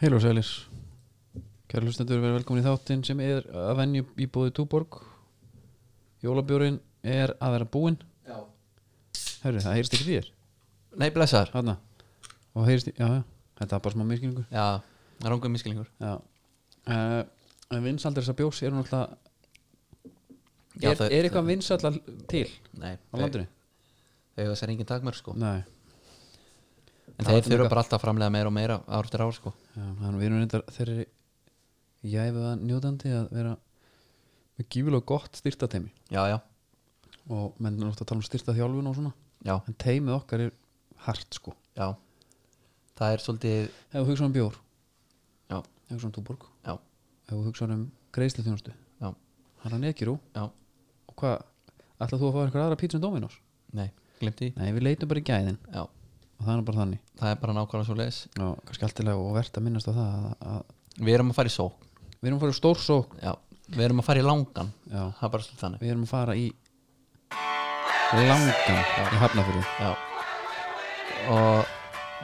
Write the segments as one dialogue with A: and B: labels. A: Heil og sælir Kæra hlustendur, verið velkomin í þáttinn sem er að venju í bóði Túborg Jólabjórin er að vera búinn
B: Já.
A: Hörru, það heyrist ekki í þér
B: Nei, blessar
A: Hanna Og heyrist, í- já, já, þetta er bara smá miskilningur
B: Já, það er ángur miskilningur
A: Já uh, En vinsaldir þessa bjós er náttúrulega
B: Já,
A: Er,
B: þau-
A: er eitthvað vinsaldar til
B: Nei,
A: á landinu?
B: Þegar þess er engin takmörk sko
A: Nei
B: En
A: Það er
B: þeir þurfa
A: líka-
B: bara alltaf að framlega meira og meira ár eftir ár sko
A: Já, þannig við erum reyndar þeirri jæfuða njótandi að vera með gífilega gott styrtatemi
B: Já, já,
A: og menn er ofta að tala um styrta þjálfun og svona
B: já,
A: en teimið okkar er hart sko
B: já Það er svolítið
A: ef þú hugsa um bjór,
B: Já,
A: ef þú hugsa um túborg
B: já,
A: ef þú hugsa um greiðslu þjónustu
B: já,
A: hann er nekirú
B: já
A: og hvað, ætlað þú að fá einhver aðra pizza en Dominos?
B: Nei, glimti
A: Nei, við leitum bara í gæðin
B: Já,
A: og það er bara þannig
B: það er bara nákvæmlega svo leis
A: Já, kannski alltilega og verðt að minnast á það að, að
B: Við erum að fara í sók
A: við erum að fara í stór sók
B: Já, við erum að fara í langan
A: Já,
B: Það er bara svolítið þannig
A: við erum að fara í langan í Hafnafjörðu
B: Já Og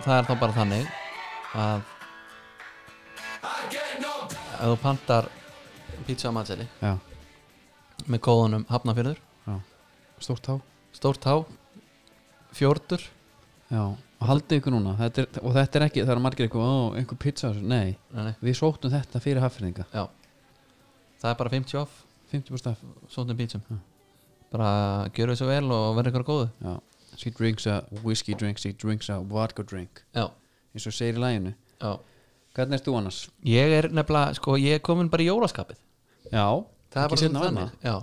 B: það er þá bara þannig að ef þú pantar pizza á matseli
A: Já,
B: með kóðunum Hafnafjörður
A: já, stórt há
B: stórt há fjórtur
A: Já, og haldið ykkur núna þetta er, og þetta er ekki, það eru margir eitthvað ó, einhver pizza, nei,
B: nei, nei,
A: við sóttum þetta fyrir Hafnafjörðinga
B: já það er bara 50 off
A: 50% af
B: sóttum pítsum bara gjöru þessu vel og verða ykkur góðu
A: Já, she drinks a whiskey drink, she drinks a vodka drink
B: já,
A: eins og segir í læginu
B: já
A: Hvernig ert þú annars?
B: ég er nefnilega, sko, ég er komin bara í jólaskapið
A: Já,
B: það er bara svona þannig já.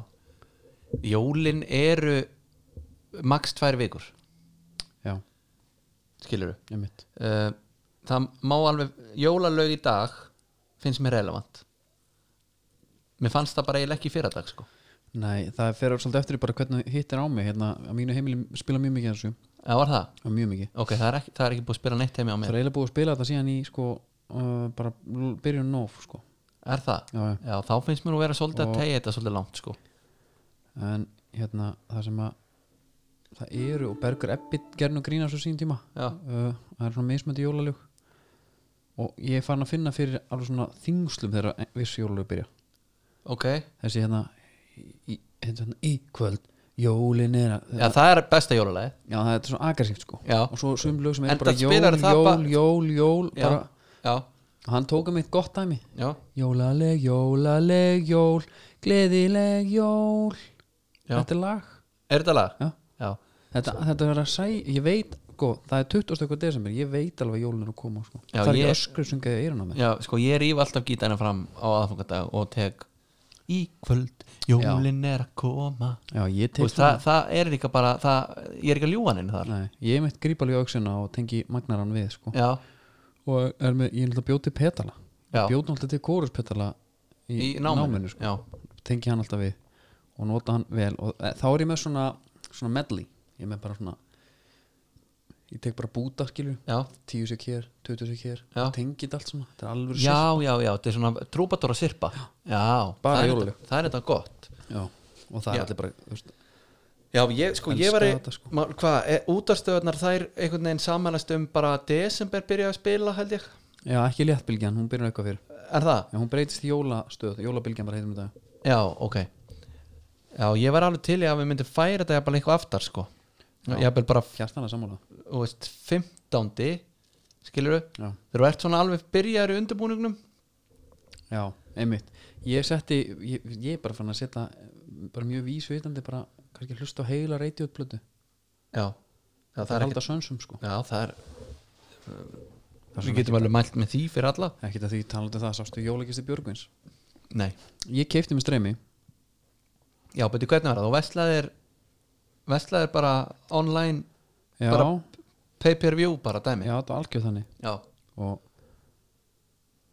B: jólin eru max tvær vikur
A: Já,
B: skilur
A: ég mitt
B: uh, það má alveg jólalög í dag finnst mér relevant mér fannst það bara eiginlega ekki í fyrradag sko
A: Nei, það fer svolítið eftir því bara hvernig hittir á mig hérna, á mínu heimili spila mjög mikið af þessu
B: Já, var það?
A: á mjög mikið
B: Ok, það er ekki, það er ekki búið að spila neitt heimi á
A: Það
B: mér
A: er eiginlega búið að spila þetta síðan í sko uh, bara l- byrjun nóf sko
B: Er það?
A: Já, já.
B: Já, þá finnst mér nú vera svolítið
A: Og-
B: að tegja þetta svolítið langt sko
A: en hérna það sem að það eru og Bergur Ebbit gerðin og grína svo sín tíma
B: Já.
A: uh, það er svona mismöndi jólalög og ég er farin að finna fyrir alveg svona þingslum þegar vissi jólalög byrja
B: Ok,
A: þessi hérna í, hérna, hérna, í kvöld jólin er að
B: já það er besta jólalagi
A: já það er svona agressíft sko
B: Já.
A: og svo sum lög sem er
B: Enda
A: bara jól,
B: spilar
A: jól,
B: það bara-
A: jól, jól,
B: Já,
A: bara,
B: já,
A: hann tók um eitt gott dæmi
B: já,
A: jólaleg, jólaleg, jól gleðileg jól
B: já
A: þetta er lag
B: Er þetta lag?
A: Já.
B: já,
A: þetta, þetta er að sæ, ég veit sko, það er 20. eitthvað desember, ég veit alveg að jólin er að koma sko.
B: Já,
A: það er
B: ég-
A: ekki öskru sungaði eyrun á mig
B: já, sko ég rýf alltaf gítarna fram á aðfangadag og teg Í kvöld, jólin er að koma
A: já, ég
B: Þú
A: tek
B: veist, það, það er líka bara, það, ég er ekki að ljúaninn þar
A: Nei, ég er meitt grípa alveg á auksina og tengi magnarann við sko.
B: Já,
A: og er með, ég er náttúrulega bjóti petala
B: já,
A: bjóti náttúrulega til kóruspetala
B: í
A: í,
B: náminu,
A: náminu sko.
B: Já,
A: tengi hann alltaf við og nota hann vel og e, þá er ég með svona, svona medley ég er með bara svona ég tek bara búta skilju
B: já,
A: tíu sek hér, tautu sek hér
B: Já.
A: tengi þetta allt svona, þetta er alveg
B: já, já, já, þetta er svona trúbatóra sirpa Já,
A: Bara
B: það er
A: jólalög.
B: þetta- Það er þetta gott
A: Já, og það
B: Já.
A: er allir bara þú veist,
B: Já, ég, sko, ég
A: Elska
B: var
A: þetta, sko.
B: Hvað, útastöðunar þær einhvern veginn samanast um bara desember byrjaði að spila, held ég
A: Já, ekki léttbylgjan, hún byrjar eitthvað fyrir
B: Er það?
A: Já, hún breytist í jólastöð, jólabylgjan bara heitum þetta
B: Já, ok Já, ég var alveg til í að við myndum færa þetta bara eitthvað aftar, sko
A: Já.
B: Ég er bara,
A: Kjartan er sammála
B: þú veist, 15 skilur við,
A: Já,
B: þegar þú ert svona alveg byrjaður í undirbúningnum
A: já einmitt Ég setti, ég, ég er bara fann að setja eh, bara mjög vísveitandi bara kannski hlusta á heila reytiutblötu
B: Já, já það er ekki
A: halda sönsum sko
B: Já, það er
A: Það er
B: Við
A: svona
B: getum alveg mælt með því fyrir alla
A: Ekkert að því talandi um það, sástu jólagisti Björgvins
B: Nei,
A: Ég keipti með streymi
B: já, betur hvernig var það? Þú veslaðir, veslaðir bara online
A: Já,
B: Bara- pay-per-view bara dæmi
A: já þetta var algjöf þannig
B: já.
A: og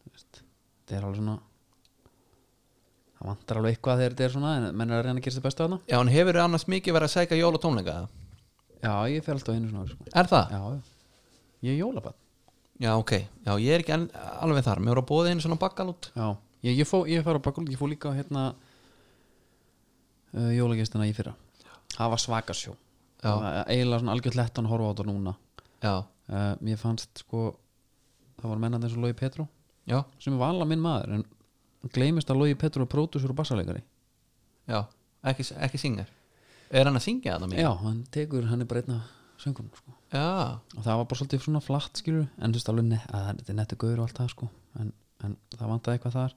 A: þú veist, þetta er alveg svona það vantar alveg eitthvað þegar þetta er svona en menn er að reyna að gera sér bestu þarna
B: Já, en hefur annars mikið verið að sækja jól og tónleika? eða?
A: Já, ég fer alltaf einu svona ári, sko.
B: Er það?
A: Já, já. ég er jólabann
B: Já, ok, já, ég er ekki enn, alveg þar Mér voru að bóða einu svona bakkalút
A: Já, ég, ég, fó, ég fara á bakkvöld, ég fór líka á hérna uh, jólagestina í fyrra það var svakasjó
B: Já.
A: Það var eiginlega svona algjörð lettan að horfa á þetta núna
B: Já,
A: uh, mér fannst sko það voru mennandi eins og Lói Petró
B: já,
A: sem er vala minn maður en gleymist að Logi Petru er pródúsur og bassaleikari
B: já, ekki, ekki syngar er hann að syngja þarna mikið?
A: já, hann tekur, hann er bara einn af söngunum sko.
B: já,
A: og það var bara svolítið svona flatt skilur en þú veist alveg, ne að þetta er nettu gaur og allt það sko. en, en það vantaði eitthvað þar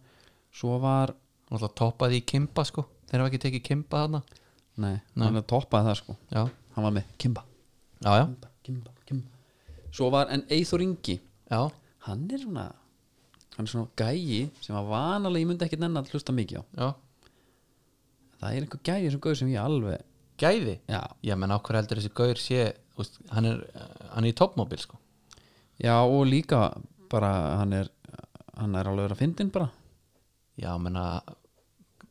A: svo var,
B: hann alltaf toppaði í Kimba sko þeir hafa ekki tekið Kimba þarna
A: nei, hann toppaði það sko.
B: já,
A: hann var með Kimba,
B: já, já,
A: Kimba, Kimba, Kimba. svo var, en Eithor Ingi
B: já,
A: hann er svona hann er svona gæi sem að vanalega ég myndi ekki nenni að hlusta mikið á
B: já.
A: það er einhver gæi sem gaur sem ég alveg
B: gæði
A: já,
B: já, menn á hver heldur þessi gaur sé úst, hann, er, hann er í toppmóbil sko
A: já og líka bara hann er hann er alveg að fyndin bara
B: já, menna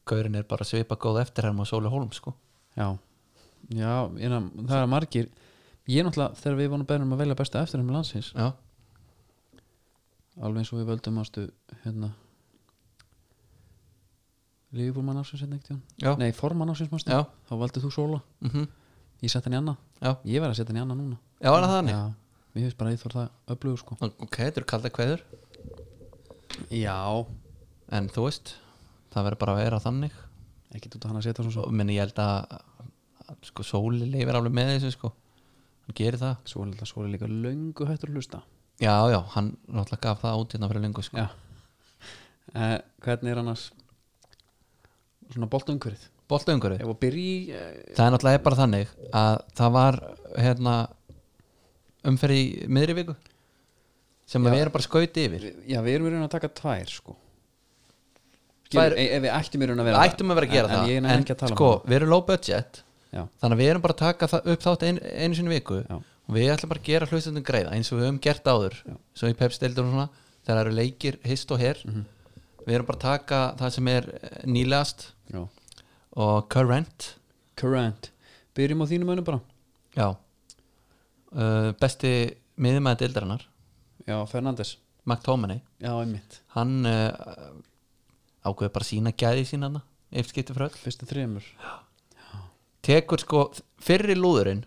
B: gaurin er bara svipa góð eftirherm á Sóli Hólm sko
A: já, já innan, það er margir ég náttúrulega þegar við vorum beðnum að velja besta eftir um landsins
B: já,
A: alveg eins og við völdum ástu hérna Lífbúrmann ásins hérna ekkert
B: já,
A: Nei, formann ásins mástu
B: Já.
A: Þá valdið þú sóla
B: mm
A: Ég sett hann í annað
B: já,
A: Ég verð að setja hann í annað núna
B: já, er það þannig
A: Já, mér finnst bara að ég þór það öflugur sko
B: ok, þetta eru kalda kveður
A: Já
B: en þú veist, það verður bara að vera þannig
A: Ekki út að hann að setja svo
B: og menn ég held að, að sko, Sóli leifir alveg með þessu sko hann gerir það
A: Svo er þetta svo er líka löngu hættur að hlusta
B: já, já, hann náttúrulega gaf það út hérna fyrir lengu sko
A: Já eh, Hvernig er annars Svona boltaumhverfið
B: boltaungurði,
A: Ef að byrja í eh,
B: það er náttúrulega bara þannig að það var hérna umferði í miðri viku sem
A: Já.
B: við erum bara skauti yfir
A: Já, við erum í raun að taka tvær sko
B: Tvær-
A: tvær, e Ef við ættum í raun að
B: við
A: vera
B: ættum að vera að gera
A: en,
B: það
A: En ég er ekki að tala
B: sko,
A: um
B: við erum low budget
A: það Já,
B: þannig að við erum bara að taka það upp þátt ein, einu sinni í viku
A: Já.
B: og við ætlum bara að gera hlustundum greiða eins og við höfum gert áður
A: Já.
B: svo í pepstildur og svona, þegar það eru leikir hist og her
A: Mhm.
B: við erum bara að taka það sem er eh, nýlegast
A: já
B: og current
A: Current Byrjum á þínum önum bara
B: já uh, besti miðumæði dildarinnar
A: Já, Fernandes
B: McTominay,
A: Já, einmitt
B: hann uh, ákveður bara sína gæði sína hann efskipti frá öll
A: Fyrstu þremur
B: tekur sko fyrri lúðurinn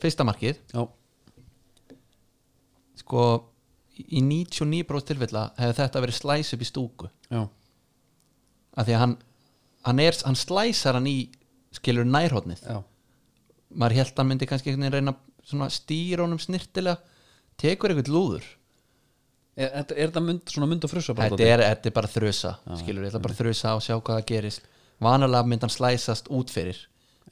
B: fyrsta markið
A: Já,
B: sko í 99% tilfella hefði þetta verið slæs upp í stúku
A: já,
B: af því að hann, hann, er, hann slæsar hann í skilur nærhóttnið
A: já
B: maður held að hann myndi kannski einhvern veginn reyna svona stýra honum snirtilega tekur eitthvað lúður
A: Er, er, er það mynd, svona mynd og frussa bara
B: þetta er, Mhm. þetta er bara þrösa skilur, þetta er bara þrösa og sjá hvað það gerist vanalega myndi hann slæsast út fyrir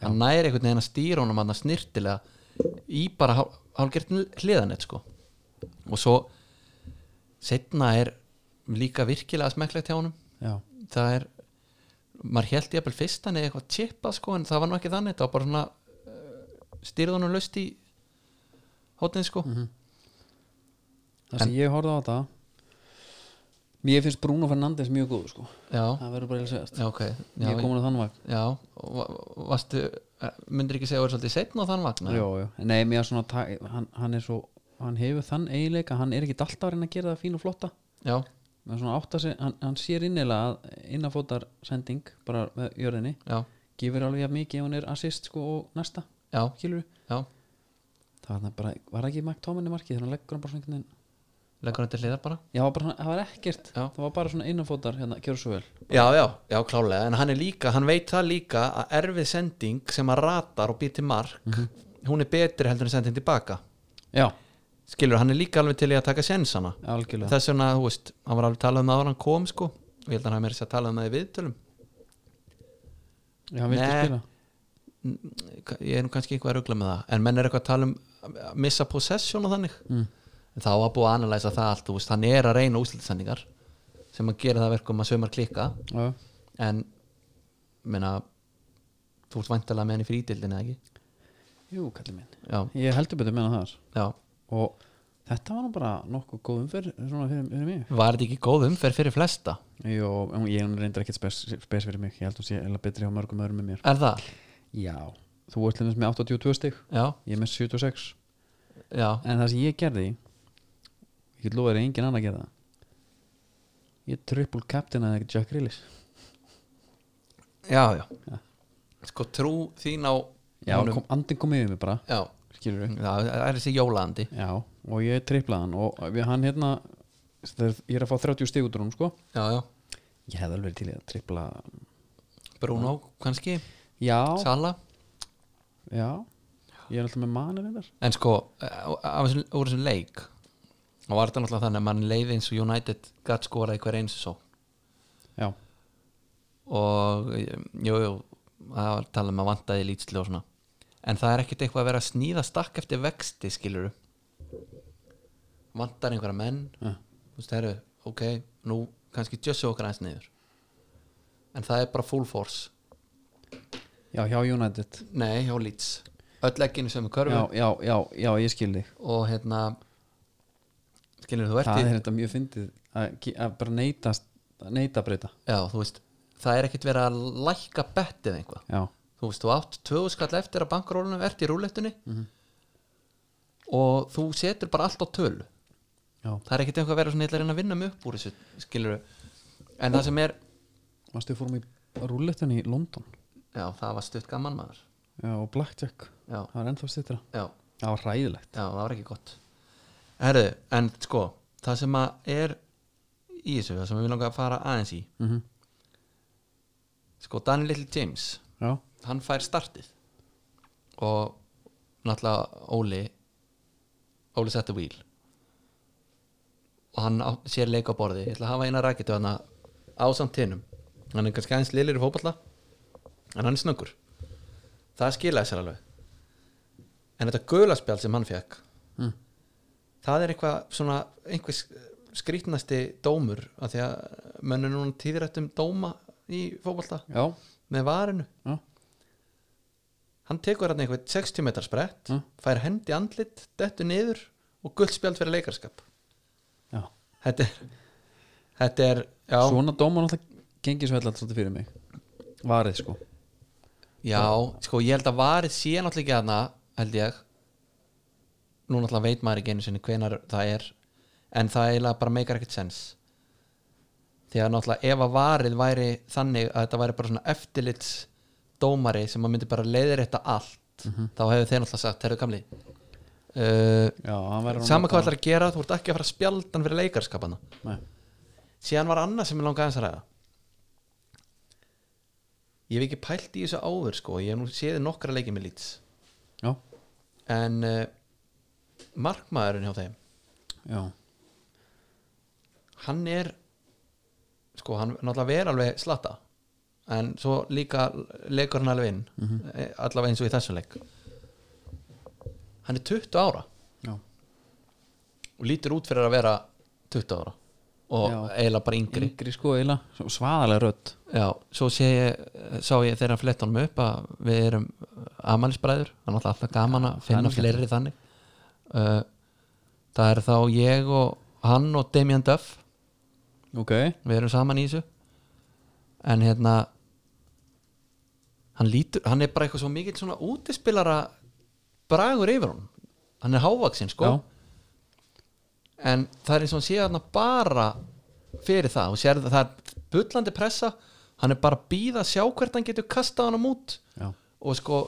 B: hann næri einhvern veginn að stýra honum hann snirtilega í bara hál- hálfgert hliðanett sko og svo setna er líka virkilega smekklegt hjá honum
A: Já,
B: það er maður held ég að fyrst hann eða eitthvað tippa sko en það var nú ekki þannig það var bara svona uh, stýrið honum löst í hótnið sko
A: það sem ég horfði á þetta Mér finnst Bruno Fernandes mjög góð sko
B: já,
A: Það verður bara að segjast
B: já ok já,
A: Ég er komin á þann vagn
B: já, og va- varstu eh, myndir ekki segja að þú er svolítið setn á þann vagn
A: Jó, jó. Nei, mér er svona ta- hann, hann er svo Hann hefur þann eiginleika Hann er ekki alltaf að reyna að gera það fín og flotta
B: já,
A: Mér er svona átt að segja Hann, hann sér innilega að innafótar sending Bara með jörðinni
B: já,
A: Gifur alveg jafn mikið ef hann er assist sko og næsta
B: já,
A: Kýlur
B: já
A: Það var þarna bara, var ekki Mike Tomini markið þannig að leggur hann bara svona einhvern veginn
B: leggur hann til hliðar bara
A: Já, bara, svona- það var ekkert,
B: Já.
A: það var bara svona innanfótar hérna, kjör svo vel
B: já, já, já, klálega, en hann er líka hann veit það líka að erfið sending sem að ratar og býr til mark hún er betri heldur en sending tilbaka
A: Já,
B: skilur, hann er líka alveg til í að taka sjensana
A: algjörlega
B: þess vegna, þú veist, hann var alveg talað um það áður en hann kom sko, og ég held að hann hafi meira sér að tala um það í viðtölum
A: Já, hann vildi
B: Nei.
A: spila
B: N- ég er nú kannski eitthvað að rugla með það en menn er eitthvað að tala um að missa possession og þannig
A: Mm.
B: en þá var búið að analysa það allt, þú veist, hann er að reyna úslitsendingar sem að gera það að verkum að sömur klikka
A: Já,
B: en, meina þú ert væntalega með hann í frítildin eða ekki
A: Jú, kallið minn
B: já,
A: Ég heldur betur meina það
B: já,
A: Og þetta var nú bara nokkuð góð umferð svona fyrir, fyrir mig
B: var þetta ekki góð umferð fyrir flesta,
A: Jó, en ég er reyndar ekkert spes, spes fyrir mig Ég heldur sé eða betri á mörgum öðrum með mér
B: er það?
A: Já, þú ert lefnast með 82 stig
B: já,
A: Ég er með 76
B: já,
A: En það sem ég gerði Ég get lofaði engin annar að gera það Ég triple captain að Jack Grealish
B: já, já.
A: Já.
B: sko trú þín á
A: Já,
B: honum-
A: kom, andin kom yfir mig bara
B: já,
A: skilur
B: Já, það er þessi jólandi
A: já, og ég triplaði hann og við, hann hérna það er, ég er að fá 30 stig út úr hún sko
B: já, já,
A: ég hefði alveg verið til í að tripla
B: Bruno kannski,
A: já,
B: Sala
A: já ég er alltaf með manir einnig
B: En sko, eh, af þessum, úr þessum leik og var þetta náttúrulega þannig að mann leiði eins og United gatt skoraði hver eins og svo
A: já,
B: og eh, jú, jú, það var talað um að vantaði lýtsli og svona en það er ekkert eitthvað að vera að sníða stakk eftir vexti skiluru vantar einhverja menn
A: Ja.
B: þú veist, herru, ok, nú kannski jössu okkar aðeins niður en það er bara full force
A: já, hjá United
B: nei, hjá lýts öll ekkinu sem er körfu
A: já, já, já, já, ég skil þig
B: og hérna skilur þú ert
A: það
B: í
A: er þetta mjög fyndið að, ge- að bara neita, neita breyta
B: já, þú veist, það er ekkert verið að lækka bettið einhvað
A: já,
B: þú veist, þú átt tvöðu skall eftir að bankarólunum ert í rúletunni og þú setur bara allt á tölu
A: já,
B: það er ekkert eitthvað að vera svona, ég ætla að reyna að vinna mig upp úr þessu skilur en það sem er,
A: varstu við fórum í rúllettan í London
B: já, það var stutt gaman maður
A: já, og Blackjack,
B: já,
A: það var ennþá stittra
B: já,
A: það var hræðilegt
B: já, það var ekki gott herðu, en sko það sem að er í þessu, það sem við langar að fara aðeins í
A: mm -hmm.
B: sko, Danny Little James
A: já,
B: hann fær startið og náttúrulega Óli Óli setti wheel og hann á, sér leik á borði ég ætla að hafa eina rækitu hann á samt hinnum hann er kannski aðeins liðlir í fótballa en hann er snöggur það skilaði sér alveg en þetta gulaspjál sem hann fekk
A: Mm.
B: það er eitthvað svona einhver sk- skrýtnasti dómur af því að mönnur núna tíðrættum dóma í fótballa
A: já,
B: með varinu
A: já,
B: hann tekur hann einhvern 60 metrar sprett
A: Mm.
B: fær hendi andlit, dettu niður og guldspjald fyrir leikarskap
A: já.
B: þetta er, þetta er já,
A: svona dómar náttúrulega gengið svo alltaf svolítið fyrir mig varið sko
B: já, sko ég held að varið sé náttúrulega ekki aðna, held ég nú náttúrulega veit maður ekki einu sinni hvenar það er en það eiginlega bara meikar ekkert sens því að náttúrulega ef að varið væri þannig að þetta væri bara svona eftirlits dómari sem að myndi bara leiðrétta allt
A: Mhm.
B: þá hefur þeir náttúrulega sagt, herru kamli uh,
A: já, hann verður
B: sama hvað ætlar að gera, þú ert ekki að fara að spjaldan fyrir leikarskapana
A: Nei.
B: síðan var annað sem ég langaði aðeins að ræða ég hef ekki pælt í þessu áður sko ég hef nú séð nokkra leikið með lýts
A: já,
B: en uh, markmaðurinn hjá þeim
A: já,
B: hann er sko hann náttúrulega verið alveg slatta en svo líka leikur hann alveg inn eh, allavega eins og í þessum leik hann er 20 ára
A: já,
B: og lítur út fyrir að vera 20 ára og
A: Já.
B: eiginlega bara yngri
A: yngri sko eila svaðalega rödd
B: Já, svo sé ég, sá ég þegar að fletta honum upp að við erum amalisbræður, það er náttúrulega alltaf gaman að
A: það er
B: finna
A: nú
B: fleiri þannig uh, Það er þá ég og hann og Damian Duff
A: ok,
B: við erum saman í þessu en hérna hann lítur, hann er bara eitthvað svo mikill svona útispilara bragur yfir hún hann er hávaksinn sko
A: Já.
B: en það er eins og hann sé hann bara fyrir það og sér það, það er bullandi pressa hann er bara að býða að sjá hvert hann getur kastað hann á mút
A: já
B: og sko,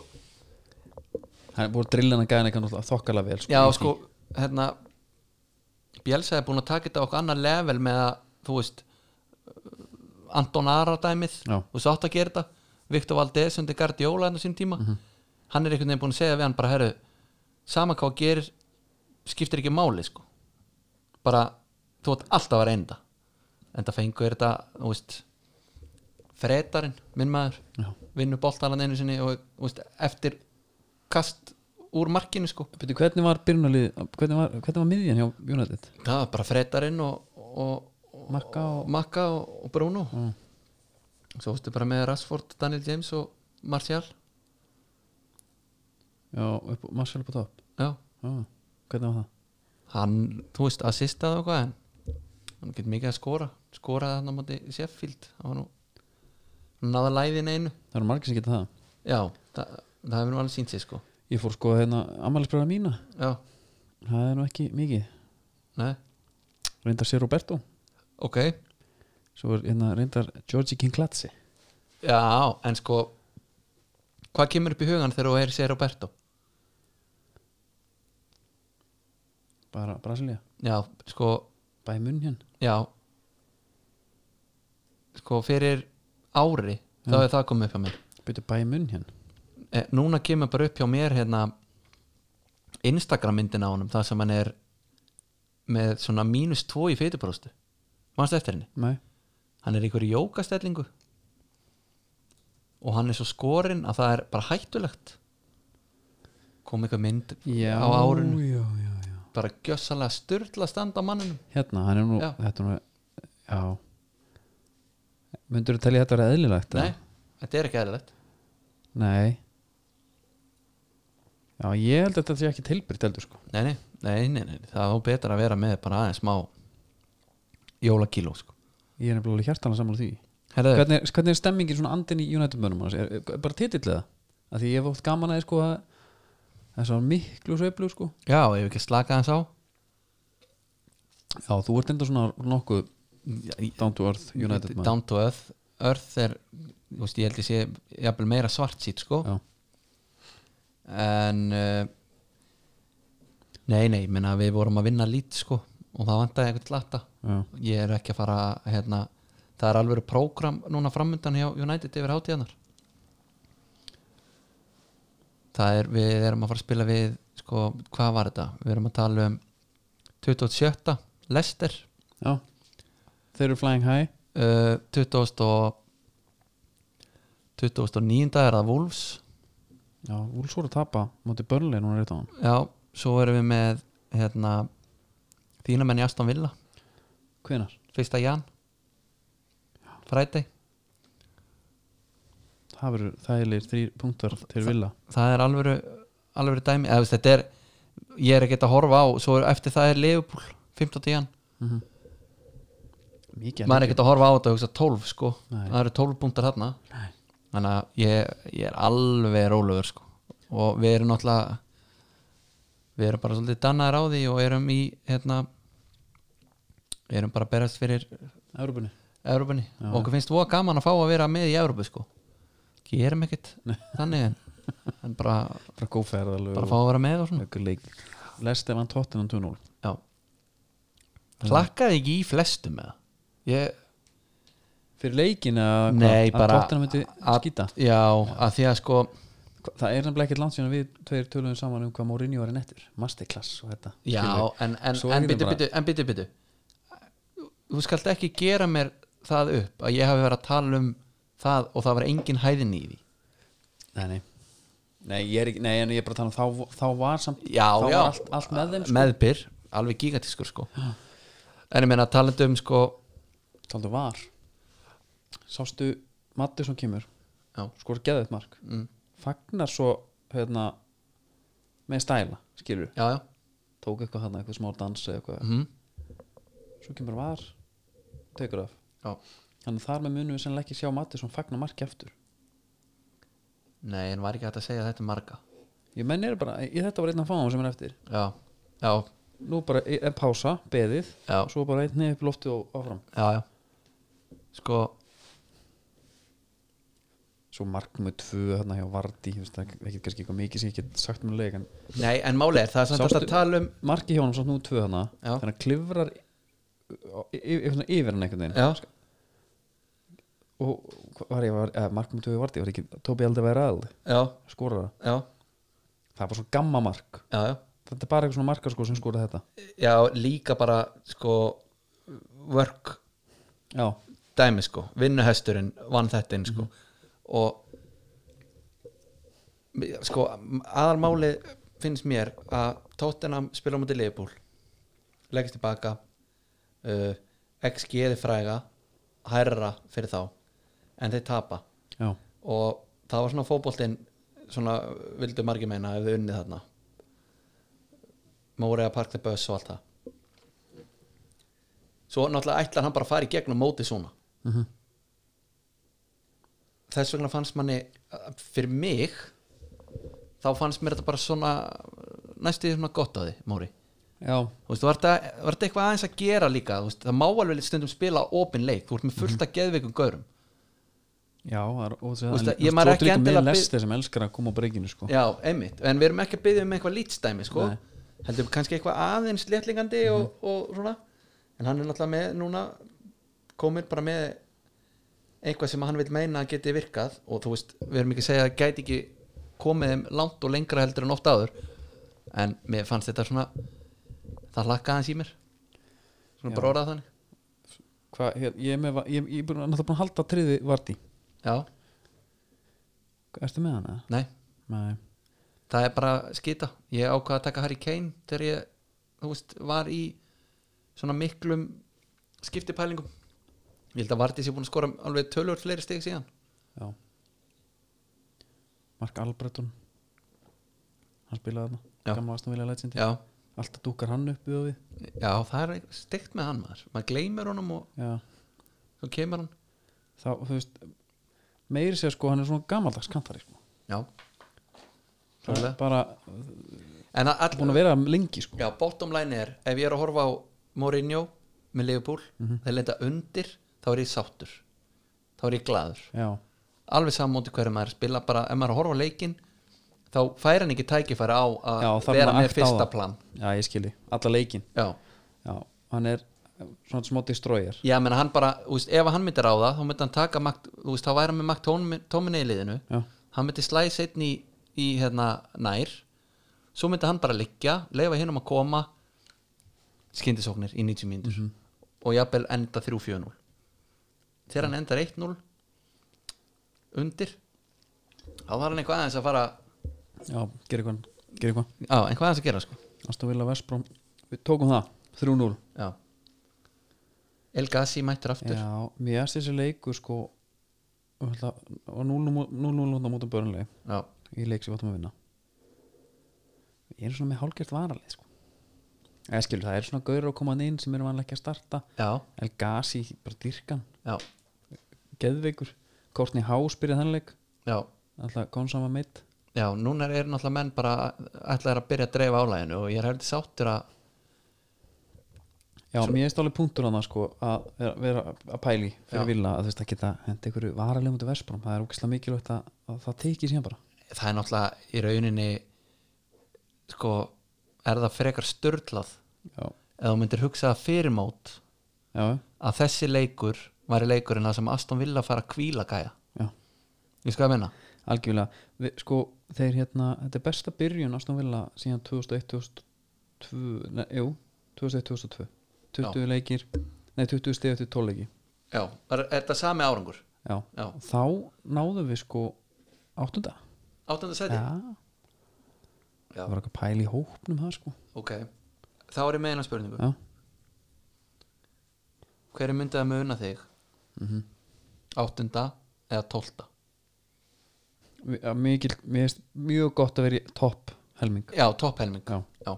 A: hann er búin að drilla hann að gæða eitthvað þokkarlega vel sko,
B: já
A: í því.
B: sko hérna Bjelsa er búin að taka þetta á okkur annar level með að, þú veist Anton Ara dæmið
A: Já.
B: og svo átt að gera þetta Viktor Valdez undir Guardiola enn á sín tíma
A: Mhm.
B: hann er einhvern veginn búin að segja við hann bara herru, sama hvað þú gerir skiptir ekki máli sko bara, þú átt alltaf að reynda en það fengur þetta, þú veist fredarinn, minn maður
A: Já.
B: vinnu boltalan einu sinni og þú veist, eftir kast úr markinu sko
A: Bíddu, hvernig var byrjunalið hvernig var, hvernig var miðjan hjá United
B: það var bara fredarinn og, og, og
A: Marka og-
B: Marka og, og Bruno
A: Mm.
B: svo fórstu bara með Rashford, Daniel James og Martial
A: já, upp, Marcel upp á topp
B: já,
A: já, hvernig var það
B: hann, þú veist, assistaði og hvað en hann getur mikið að skora skoraði hann á móti Sheffield hann var nú hann náði læðin einu
A: það eru margir sem geta það
B: já, það, það hefur nú alveg sínt sér sko
A: ég fór sko hérna ammælisbröða mína
B: já,
A: það er nú ekki mikið
B: nei,
A: reyndar sér Roberto
B: ok
A: svo er hérna reyndar Georgi Kinklatsi
B: já, en sko hvað kemur upp í hugan þegar þú er sér Roberto
A: bara Brasilia
B: já, sko
A: bæði munn hérna
B: já sko fyrir ári þá er það komið upp hjá mér
A: byrju bæði munn hérna
B: e, núna kemur bara upp hjá mér hérna Instagram myndin á honum það sem hann er með svona mínus 2 í feitubróstu mannstu eftir henni
A: nei,
B: hann er í einhverju jókastellingu og hann er svo skorinn að það er bara hættulegt kom eitthvað mynd
A: já,
B: á árun
A: já, já, já.
B: bara gjössalega styrla standa á manninum
A: hérna, hann er nú,
B: Já.
A: þetta er nú já myndur þú telja þetta verið eðlilegt eða?
B: nei, þetta er ekki eðlilegt
A: nei já, ég held að þetta sé ekki tilbyrgt heldur sko
B: nei, nei, nei, nei, nei, það er betra að vera með bara aðeins smá jólakíló sko.
A: ég er nefnilega hjartalega sammála því
B: Herðu,
A: hvernig, er- hvernig er stemmingin svona andin í United mönnum hans? Er, er bara titillega? Af því ég hef oft gaman að sko að það er svo miklu sveiflu sko
B: já, ef ekki slaka aðeins á
A: Já, þú ert enda svona nokkuð down to earth United maður
B: down to earth earth er, þú veist, ég held ég sé jafnvel meira svart sít sko
A: Já,
B: en uh, nei, nei, ég meina við vorum að vinna lít sko og það vantaði eitthvað latta
A: já,
B: ég er ekki að fara, hérna það er alveg prógram núna framöndan hjá United yfir hátíðanar það er, við erum að fara að spila við sko, hvað var þetta? Við erum að tala um 27. Lester
A: já Þeir eru flying high
B: uh, 20 og 2009 er það Wolves
A: Já, Úls voru að tapa móti börnlega núna rétt á hann
B: já, svo erum við með hérna, þína menn í Aston Villa
A: Hvenar?
B: fyrsta jan fræti,
A: Það verður þægilegir þrýr punktar til vilja
B: það er alvöru alvöru dæmi, eða þú veist, þetta er ég er ekkert að horfa á, svo er, eftir það er Leopold 15. jan,
A: Mikið
B: maður er ekkert að horfa á þetta og hugsa 12 sko,
A: Nei.
B: það eru 12 punktar þarna
A: Nei.
B: þannig að ég, ég er alveg rólegur sko og við erum náttúrulega við erum bara svolítið dannaðir á því og erum í hérna við erum bara að berast fyrir
A: Európunni
B: Európunni
A: Já.
B: og okkur finnst voða gaman að fá að vera með í Európu sko gerum ekkert þannig en, en bara,
A: Bara góð ferðalög
B: bara fá að vera með og svona
A: Ekkur leik Lest ef hann tóttinan 2-0
B: já hlakkaði ekki í flestum með ég,
A: Fyrir leikin að
B: Nei,
A: að
B: bara-
A: tóttinan myndi
B: að-
A: skýta
B: já, að því að sko
A: Hva- Það er nefnilega ekkert langt síðan við tveir töluðum saman um hvað Mourinho var í nettur Masterclass og þetta
B: Já,
A: Skilur.
B: en, en,
A: Svo
B: en
A: er þetta
B: byttu,
A: bara-
B: byttu, en byttu, byttu Þú skalt ekki gera mér það upp að ég hafi verið að tala um það og það var engin hæðin í því
A: Nei, nei Nei, ég er ekki, nei, en ég er bara að tala um þá, þá var samt
B: Já,
A: þá
B: já.
A: var allt, allt með þeim sko.
B: Meðbyr, alveg gigantískur sko En ég meina talandi um sko
A: Taldu var Sástu Matti sem kemur
B: Já.
A: Skor geðið mark
B: mm,
A: Fagnar svo hérna, með stæla, skilur
B: Já, já
A: Tók eitthvað hann, eitthvað smá dans eða eitthvað
B: mhm,
A: Svo kemur var, tekur af
B: Já.
A: Þannig að þar með munum við sennilega ekki sjá Matti sem fagnar marki aftur
B: Nei, en var ekki hægt að segja þetta marga
A: Ég menn er bara, ég, þetta var einn af fáum sem er eftir
B: Já, já,
A: Nú bara e, er pása, beðið
B: já,
A: Svo bara einn nefn upp í loftið og áfram
B: já, já. Sko,
A: svo markmið tvö hérna hjá Vardí þú veist, það er ekki kannski eitthvað mikið sem ég get sagt mér leik en
B: nei, en máli er það er samt
A: Sástu-
B: Sástu... að tala um
A: markið hjá hann samt nú tvö hana
B: Já.
A: þannig að klifrar y- y- y- svona yfir hann einhvern veginn
B: Já,
A: og hvað var ég, var, eh, markmið tvö Vardí var ekki Tóbi aldrei væri aðal
B: já,
A: skorar það,
B: já,
A: það var svo gamma mark
B: já, já.
A: þetta er bara eitthvað svona markar sko sem skorar þetta
B: já, líka bara sko work
A: já,
B: dæmi sko, vinnuhesturinn vann þetta inn sko og sko, aðalmáli finnst mér að Tottenham spila á móti leifbúl leggist tilbaka uh, XG eði fræga hærra fyrir þá en þeir tapa
A: já,
B: og það var svona fótboltinn svona vildu margir meina ef þau unnið þarna Móriða Park the Bus og allt það svo náttúrulega ætlar hann bara að fara í gegnum mótið svona
A: Mhm.
B: þess vegna fannst manni uh, fyrir mig þá fannst mér þetta bara svona næstu því svona gott á því, Móri
A: já,
B: þú veist, þú ert að- var þetta eitthvað aðeins að gera líka þú veist, það má alveg stundum spila opin leik þú ert með fullt að geðveikum gaurum
A: já það er, og
B: Þú veist
A: það
B: að- ég maður ekki endilega
A: með
B: bið-
A: lestir sem elskar að koma á breyginu sko
B: Já, einmitt, en við erum ekki að byggja um eitthvað lítstæmi sko.
A: Nei. Mhm.
B: heldur kannski eitthvað aðeins léttlingandi og, og svona en hann er náttúrulega með núna komir bara með eitthvað sem hann vil meina að geti virkað og þú veist, við erum ekki að segja að gæti ekki komið þeim langt og lengra heldur en oft áður en mér fannst þetta svona það hlakkaði hans í mér svona
A: Já.
B: bara orðað þannig
A: Hva, hér, ég er með, va- ég, ég er búin- náttúrulega búin að halda triði Vardí
B: já,
A: Ertu með hana?
B: nei,
A: Nei
B: það er bara skita ég ákvað að taka Harry Kane þegar ég, þú veist, var í svona miklum skiptipælingum ég held að Vardís ég búin að skora alveg tölur fleiri stig síðan
A: Já Mark Albretton Hann spilaði
B: Já.
A: þarna Gamla Aston Villa Legendi
B: já,
A: Alltaf dúkar hann upp við og við
B: já það er stikt með hann maður maður gleymir honum og
A: Já
B: svo kemur hann
A: Þá, þú veist Meiri sér sko, hann er svona gamaldags kantari sko
B: já,
A: Það er
B: Klárlega.
A: Bara
B: en að all,
A: búin að vera lengi sko
B: Já, bottom line er ef ég er að horfa á Mourinho með Liverpool, þeir lenda undir þá er ég sáttur þá er ég glaður,
A: Já
B: alveg sammóti hverju maður er að spila bara, ef maður er að horfa á leikinn þá fær hann ekki tækifæri á að
A: Já, þarf
B: vera
A: maður að
B: með
A: akta á
B: fyrsta
A: það.
B: plan
A: Já, ég skilji Alla leikin
B: Já,
A: Já Hann er svona smá destroyer
B: ég meina hann bara þú veist, ef hann myndi ráða, þá myndi hann taka makt, þú veist, þá væri hann með makt tóminni í liðinu
A: Já
B: hann myndi slæs einn í, í hérna, nær svo myndi hann bara liggja leifa hinn um að koma skyndisóknir í 90 mínútur
A: Mhm.
B: og jafnvel enda 3-4-0 þegar hann endar 1-0 undir þá var hann eitthvað aðeins að fara
A: Já, gera eitthvað Gera eitthvað
B: á, eitthvað aðeins að gera sko
A: Aston Villa Vestbrom Við tókum það 3-0
B: já. El Gassi mættur aftur
A: Já, mér erst þessi leikur sko og ætla- og 0-0 0-0 á mótum börnleg
B: Já.
A: í leik sem við áttum að vinna ég er svona með hálgert varalið sko eða skilur það er svona gaur að koma hann inn sem eru vanlega ekki að starta
B: já,
A: El Gassi, bara dyrkan,
B: já,
A: geðveikur Kortni Hás byrjaði þannleik
B: já
A: alltaf konsama meitt
B: Já, núna er náttúrulega menn bara ætlaðir að byrja að dreifa álæginu og ég er heldur sáttur að
A: Já, mér erst alveg punktur hann sko að vera, vera að pæli fyrir
B: Já.
A: vilja að þú veist að geta hent einhverju varalegum út í Vestbrom, það er ógeðslega mikilvægt að, að það teki síðan bara
B: það er náttúrulega í rauninni sko, er það frekar störlað
A: Já,
B: eða þú myndir hugsa það fyrirmót
A: já,
B: að þessi leikur væri leikurinn að sem Aston Villa fara að kvíla gæja
A: já
B: ég sko að menna
A: algjörlega, Vi, sko þeir hérna, þetta er besta byrjun Aston Villa síðan 2001-2002 nei, jú, 2001-2002 20 leikir, nei 20 stið eftir 12 leiki,
B: Já, er, er þetta sami árangur?
A: já,
B: Já,
A: þá náðum við sko áttunda,
B: áttönda
A: já
B: sæti?
A: það
B: Já,
A: var eitthvað pæl í hópnum það sko,
B: ok Þá er ég með eina spurningu
A: já
B: Hver er myndið að muna þig?
A: mm -hmm.
B: Áttunda eða tólta?
A: mikil, mér finnst mjög gott að vera í topp helming,
B: Já, topphelming
A: já,
B: Já,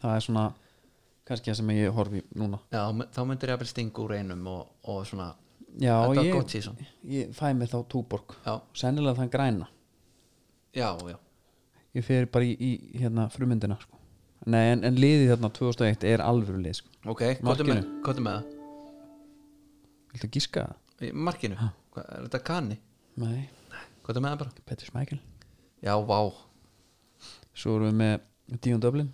A: það er svona kannski það sem ég horfi núna
B: Já m- þá myndir ég að byrja stinga úr einum og, og svona,
A: já,
B: þetta var gott
A: ég,
B: síðan
A: ég fæ mig þá túborg,
B: Já,
A: sennilega þann græna
B: já, já
A: ég fer bara í, í hérna frumyndina sko. Nei, en, en liðið hérna, þarna 2001 er alvöru lið sko.
B: Ok, hvað er með,
A: Markinu.
B: hvað er með það?
A: Viltu gíska það?
B: Í markinu, Hva, er þetta kanni?
A: Nei,
B: Hvað er með það bara?
A: Petr Smækil
B: Já, vá,
A: Svo erum við með Díon Dublin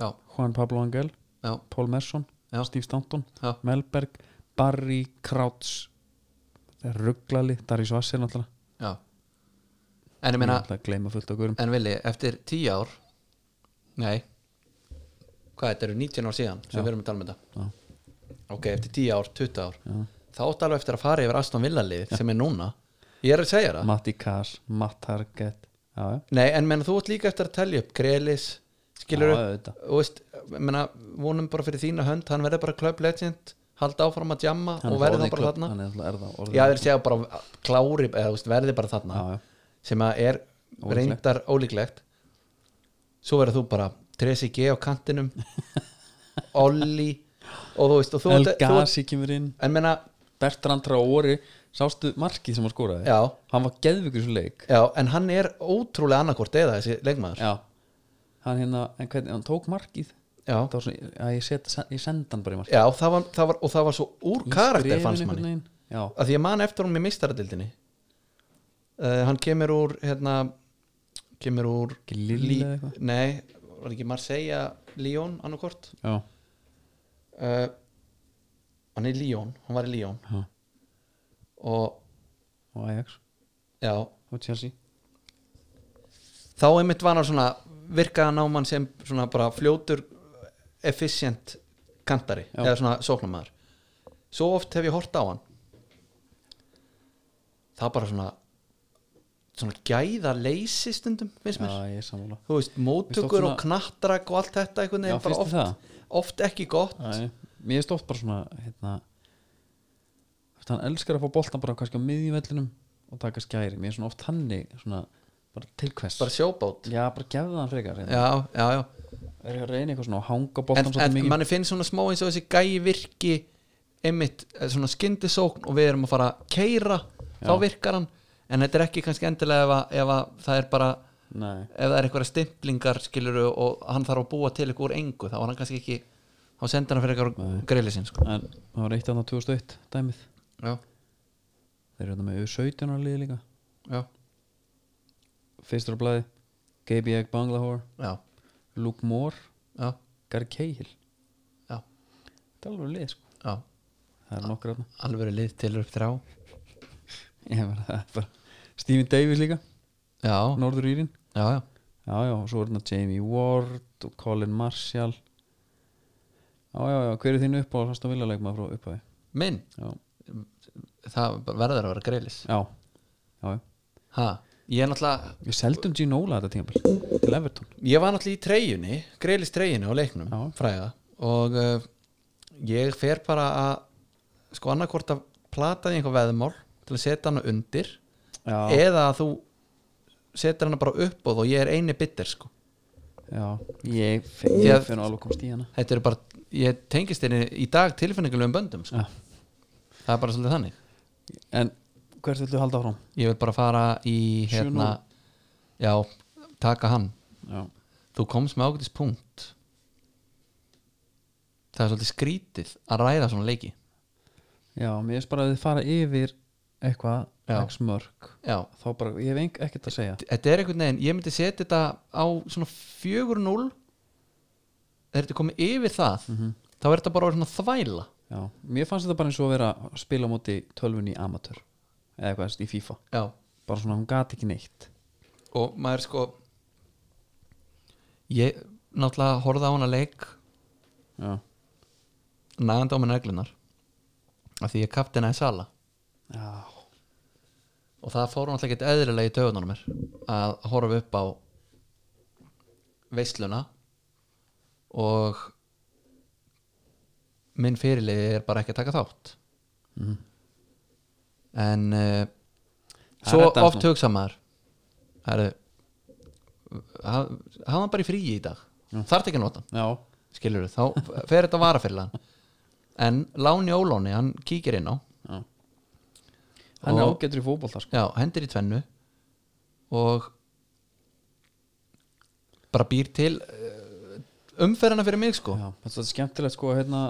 B: já,
A: Juan Pablo Angel,
B: já,
A: Paul Merson
B: Já.
A: Steve Stanton,
B: já,
A: Melberg Barry Krauts Rugglali, Darius Vassir náttúrulega
B: já. En ég meina,
A: Ég ætla að gleyma fullt á gurum
B: en vilji, eftir tíu ár Nei Hvað, þetta eru 19 ár síðan sem við erum að tala með þetta
A: Já.
B: Ok, eftir tíu ár, 20 ár já. Þá átt alveg eftir að fara yfir Aston Villa lið sem er núna Ég er að segja það
A: Matti Kass, Matt Target Já, já.
B: Nei, en menna, þú ert líka eftir að telja upp Grelis, skilur
A: Já, auðvitað.
B: og veist, menna, vonum bara fyrir þína hönd hann verður bara club legend, halda áfram að jamma
A: Hann er
B: og verður
A: orðinn
B: þá bara
A: klub-
B: þarna
A: Hann er náttúrulega- er það orðið
B: Já, þeir segja bara klári eða þú veist, verði bara þarna
A: já, já.
B: sem að er
A: Ólíklegt.
B: reyndar ólíklegt svo verður þú bara 3G á kantinum Olli og þú veist og þú,
A: El
B: ert- þú ert-
A: Gassi kemur inn
B: en menna,
A: Bertrand Traori sástu markið sem hann skoraði
B: já,
A: hann var geðvikur svo leik
B: já en hann er ótrúlega annarkvort eða þessi leikmaður
A: já. hann hérna, en hvernig, hann tók markið
B: já,
A: það var svona, að ég, set, ég sendi hann bara í markið
B: já það var, það var, og það var svo úr karakter fannst manni
A: neginn. já,
B: að því ég man eftir honum í mistaradildinni uh, hann kemur úr hérna kemur úr
A: Ekki Lille
B: Lí-
A: eða eitthvað?
B: nei, var ekki Marseilla Lyon annarkort
A: já,
B: uh, hann er í Líón, hann var í Líón
A: Ha.
B: og
A: og Ajax
B: já,
A: og Chelsea
B: þá einmitt var hann svona virkaða náman sem svona bara fljótur efficient kantari
A: Já.
B: eða svona sóknamaður svo oft hef ég hort á hann það bara svona svona gæða leysi stundum finnst mér,
A: Já, ég er sammála
B: þú veist,
A: Finnst
B: móttökur
A: oft
B: og knattrak og allt þetta einhvern
A: Já,
B: veginn bara
A: finnst þér það?
B: oft, oft ekki gott
A: Æ, Mér er stótt bara svona hérna, þú veist, hann elskar að fá boltan bara kannski á miðjuvellinum og taka skæri, mér er svona oft hannig svona, bara til hvers
B: bara sjóbát
A: Já, bara gefða hann frekar hérna.
B: já, já, já
A: er ég að reyna eitthvað svona að hanga
B: en,
A: boltan svolítið
B: en
A: mikið
B: manni finnst svona smá eins og þessi gæi virki einmitt eh, svona skyndisókn og við erum að fara að keira þá virkar hann en þetta er ekki kannski endilega ef, að, ef að það er bara
A: Nei,
B: ef það er einhverja stimplingar skilur og hann þarf að búa til ykkur úr engu þá er hann kannski ekki þá sendir hann fyrir eitthvað greili sinn sko.
A: en það var eitt annað 2001 dæmið
B: já,
A: Þeir eru þetta með U17 ára liði líka
B: já,
A: Fyrstur á blæði Gaby Egg Banglahor
B: já,
A: Luke Moore
B: já,
A: Gary Cahill
B: já,
A: Þetta er alveg lið sko
B: já.
A: Það er nokkur aðna
B: alveg verið lið til upp þrá
A: Ég var það er bara Stephen Davis líka
B: já,
A: Norður Írin
B: já, já,
A: Já, já, og svo er þetta Jamie Ward og Colin Marshall Já, já, já, hver er þín upp á Fast og viljalegma frá upphæði
B: minn
A: Já,
B: það verður að vera greilis
A: já, já, já
B: ha, ég er náttúrulega
A: Við seldum Ginola þetta tímpil til Everton
B: ég var náttúrulega í treyjunni greilis treyjunni á leiknum
A: Já.
B: fræða og uh, ég fer bara að sko annarkvort að plata í einhver veðmál til að setja hana undir
A: Já,
B: eða að þú setur hana bara upp og ég er eini bitter sko
A: já, ég
B: Ég-
A: ég finn alveg komst í hana
B: þetta er bara, ég tengist henni í dag tilfinningulegum böndum sko.
A: Já.
B: það er bara svolítið þannig
A: En hvert viltu halda áfram?
B: ég vil bara fara í hérna já, taka hann
A: Já,
B: þú komst með ágætis punkt það er svolítið skrítið að ræða svona leiki
A: já mér finnst bara að þið fara yfir eitthvað
B: Já.
A: x mörg
B: já,
A: þá bara, ég hef enk, ekkert að segja
B: þetta er einhvern veginn, ég myndi setja þetta á svona 4-0 þegar þetta er komið yfir það þá er þetta bara orðið svona þvæla
A: Já, mér fannst þetta bara eins og að vera að spila á móti tölvunni í amatör eða eitthvað þess í FIFA,
B: já,
A: bara svona hún gat ekki neitt
B: og maður sko ég náttúrulega horfði á hana leik
A: Já,
B: nægandi á mér neglunar af því ég kapti henni að sala
A: já,
B: og það fór náttúrulega ekkert eðrilega í töðunum mér að horfa upp á veisluna og minn fyrirliði er bara ekki að taka þátt
A: Mhm.
B: en uh,
A: Það
B: svo
A: reddaðist
B: oft hugsa maður það eru hafa hann bara í fríi í dag þarf ekki að nota hann
A: já,
B: skilur þá fer þetta vara fyrir hann en Láni Óláni, hann kíkir inn á
A: já. Hann er
B: Og-
A: ágætur í fótbolta sko.
B: já, hendir í tvennu og bara býr til eh, umferðina fyrir mig sko
A: Já, þetta er skemmtilegt sko hérna,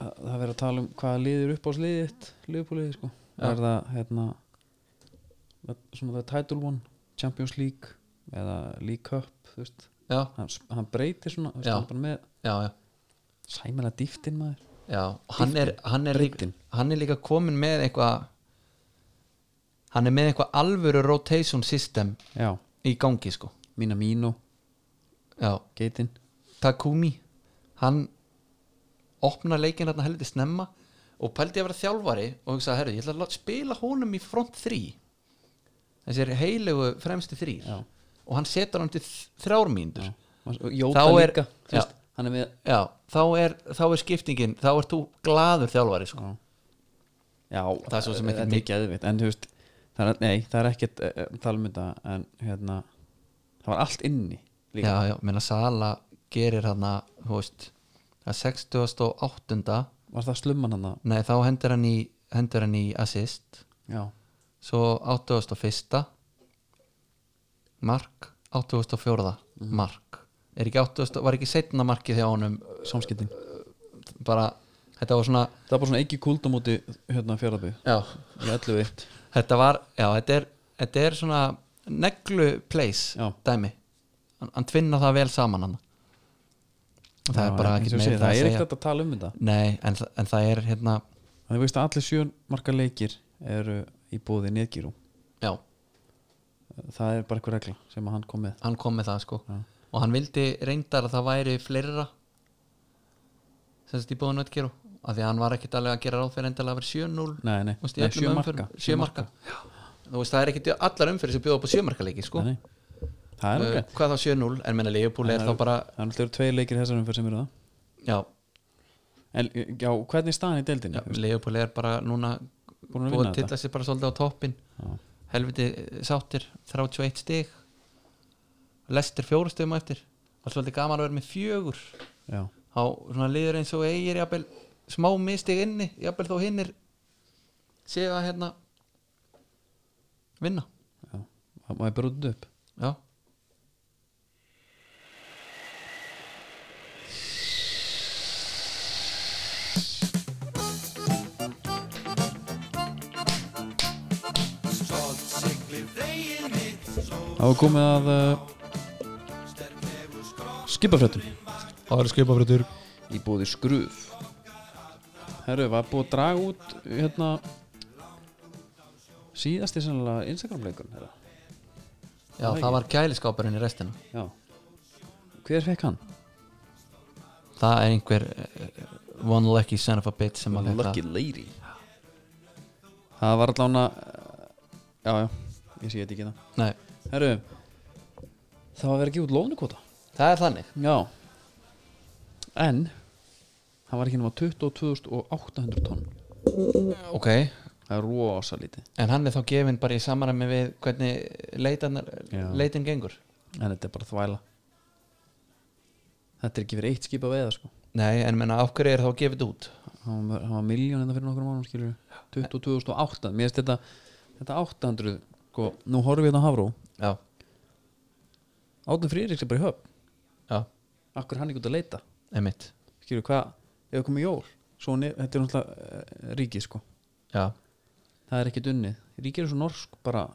A: að það verið að tala um hvaða liðir upp á sliðið liðbúliðið sko
B: Já.
A: er það hérna svona það er title one, Champions League eða League Cup þú veist,
B: já,
A: hann, hann breytir svona þú veist,
B: Já.
A: hann er bara með
B: já, já,
A: sæmela dýftin maður
B: já. Og hann er, hann er, líka,
A: Breiddin.
B: hann er líka komin með eitthvað hann er með eitthvað alvöru rotation system
A: já,
B: í gangi sko
A: mína mínu,
B: já,
A: geitin
B: Takumi hann opna leikin hérna heldur snemma og pældi að vera þjálfari og hugsaði, herru, ég ætla að lá- spila honum í front 3 þessir heilegu fremstu þrýr
A: Já.
B: og hann setur hann til þ- þrjár mínútur
A: Já.
B: já.
A: og Jóta
B: Þá er-
A: líka þú
B: já.
A: veist, hann er með
B: þá er, þá er skiptingin þá ert þú gladur þjálfari sko.
A: já, já
B: Það er svo sem ekkert
A: þetta er
B: mikið.
A: geðvitt en þú veist, það er, nei, það er ekkert eh, eh, tala um þetta, en hérna það var allt inni
B: já,
A: líka
B: já, menna Sala gerir hann að 68.
A: var það slumman hann
B: nei, þá hendur hann í hendur hann í assist
A: já,
B: svo 81. mark 84.
A: Mhm.
B: mark er ekki 80, var ekki setna markið þegar honum
A: samskipting
B: bara, þetta var svona
A: það var bara svona ekki kult á móti hérna fjörðabí
B: já.
A: í 11-1
B: þetta var, já, þetta er, þetta er svona neglu place
A: Já.
B: dæmi hann, hann tvinna það vel saman hann það er bara
A: ekki
B: ekkert
A: meira
B: meira
A: það
B: að
A: er
B: segja
A: ekkert að tala um þetta
B: nei, en, þa- en það er hérna
A: það er veist að allir sjön marka leikir eru í bóði neðgýrú
B: já,
A: það er bara eitthvað regla sem að hann kom með
B: hann kom með það sko
A: Já.
B: og hann vildi reyndar að það væri fleira sem þetta í bóðinu að gera af því að hann var ekkert alveg að gera ráð fyrir endalega að vera 7-0
A: nei, nei,
B: Þú veist, í
A: nei
B: öllum
A: sjö
B: umferðum-
A: marka
B: sjö marka. Þú veist, það er ekkert allar umferðir sem bjóða upp á sjömarkaleiki sko.
A: Nei, nei. það er
B: uh,
A: okkur
B: hvað þá 7-0 en menna Leopold er
A: Það
B: þá
A: er-
B: bara
A: það er náttúrulega tveir leikir þessar umferð sem eru það
B: já,
A: en já, hvernig er staðan í deildinni?
B: já Leopold er bara núna
A: búin að
B: búið
A: vinna
B: að tilla sig bara svolítið á toppin
A: Já.
B: helviti eh, sáttir 31 stig lestir fjóru stigum á eftir var svolítið gaman að vera með fjögur
A: þetta já,
B: þá svona liður eins og eigir jafnvel, smá mistig inni jafnvel þó hinnir séu að hérna vinna
A: já, það maður brútið upp
B: já
A: það var komið að uh, skipafréttum
B: það er skipafréttur
A: í bóði skruf Herru, var búið að draga út hérna síðasti sannlega Instagram leikur herra.
B: já það var kæliskáparinn í restina
A: Já Hver fekk hann?
B: það er einhver uh, one lucky son of a bitch sem að þetta
A: lady um Það var allan að Já, já, ég sé þetta ekki það
B: nei
A: Herru Það var verið að gefa út lónukvota
B: það er þannig
A: Já En Það var ekki nema 22.800 tonn
B: ok
A: Það er rosa lítið
B: en hann er þá gefinn bara í samarami við hvernig leitan,
A: Já.
B: leitin gengur
A: En þetta er bara þvæla Þetta er ekki verið eitt skip að veiða sko
B: nei en menna af hverju er þá gefið út
A: hann var, hann var miljón hérna fyrir nokkrum árum skilur 2008, mér finnst þetta þetta 800, sko, nú horfum við þetta á Hafró
B: já
A: Átun Frýriks er bara í höfn,
B: já
A: akkur er hann ekki út að leita
B: emitt
A: skilur, hvað, ef það komið jól svo ne, þetta er náttúrulega eh, ríkið sko
B: já
A: það er ekkit unnið, ríkið er svo norsk bara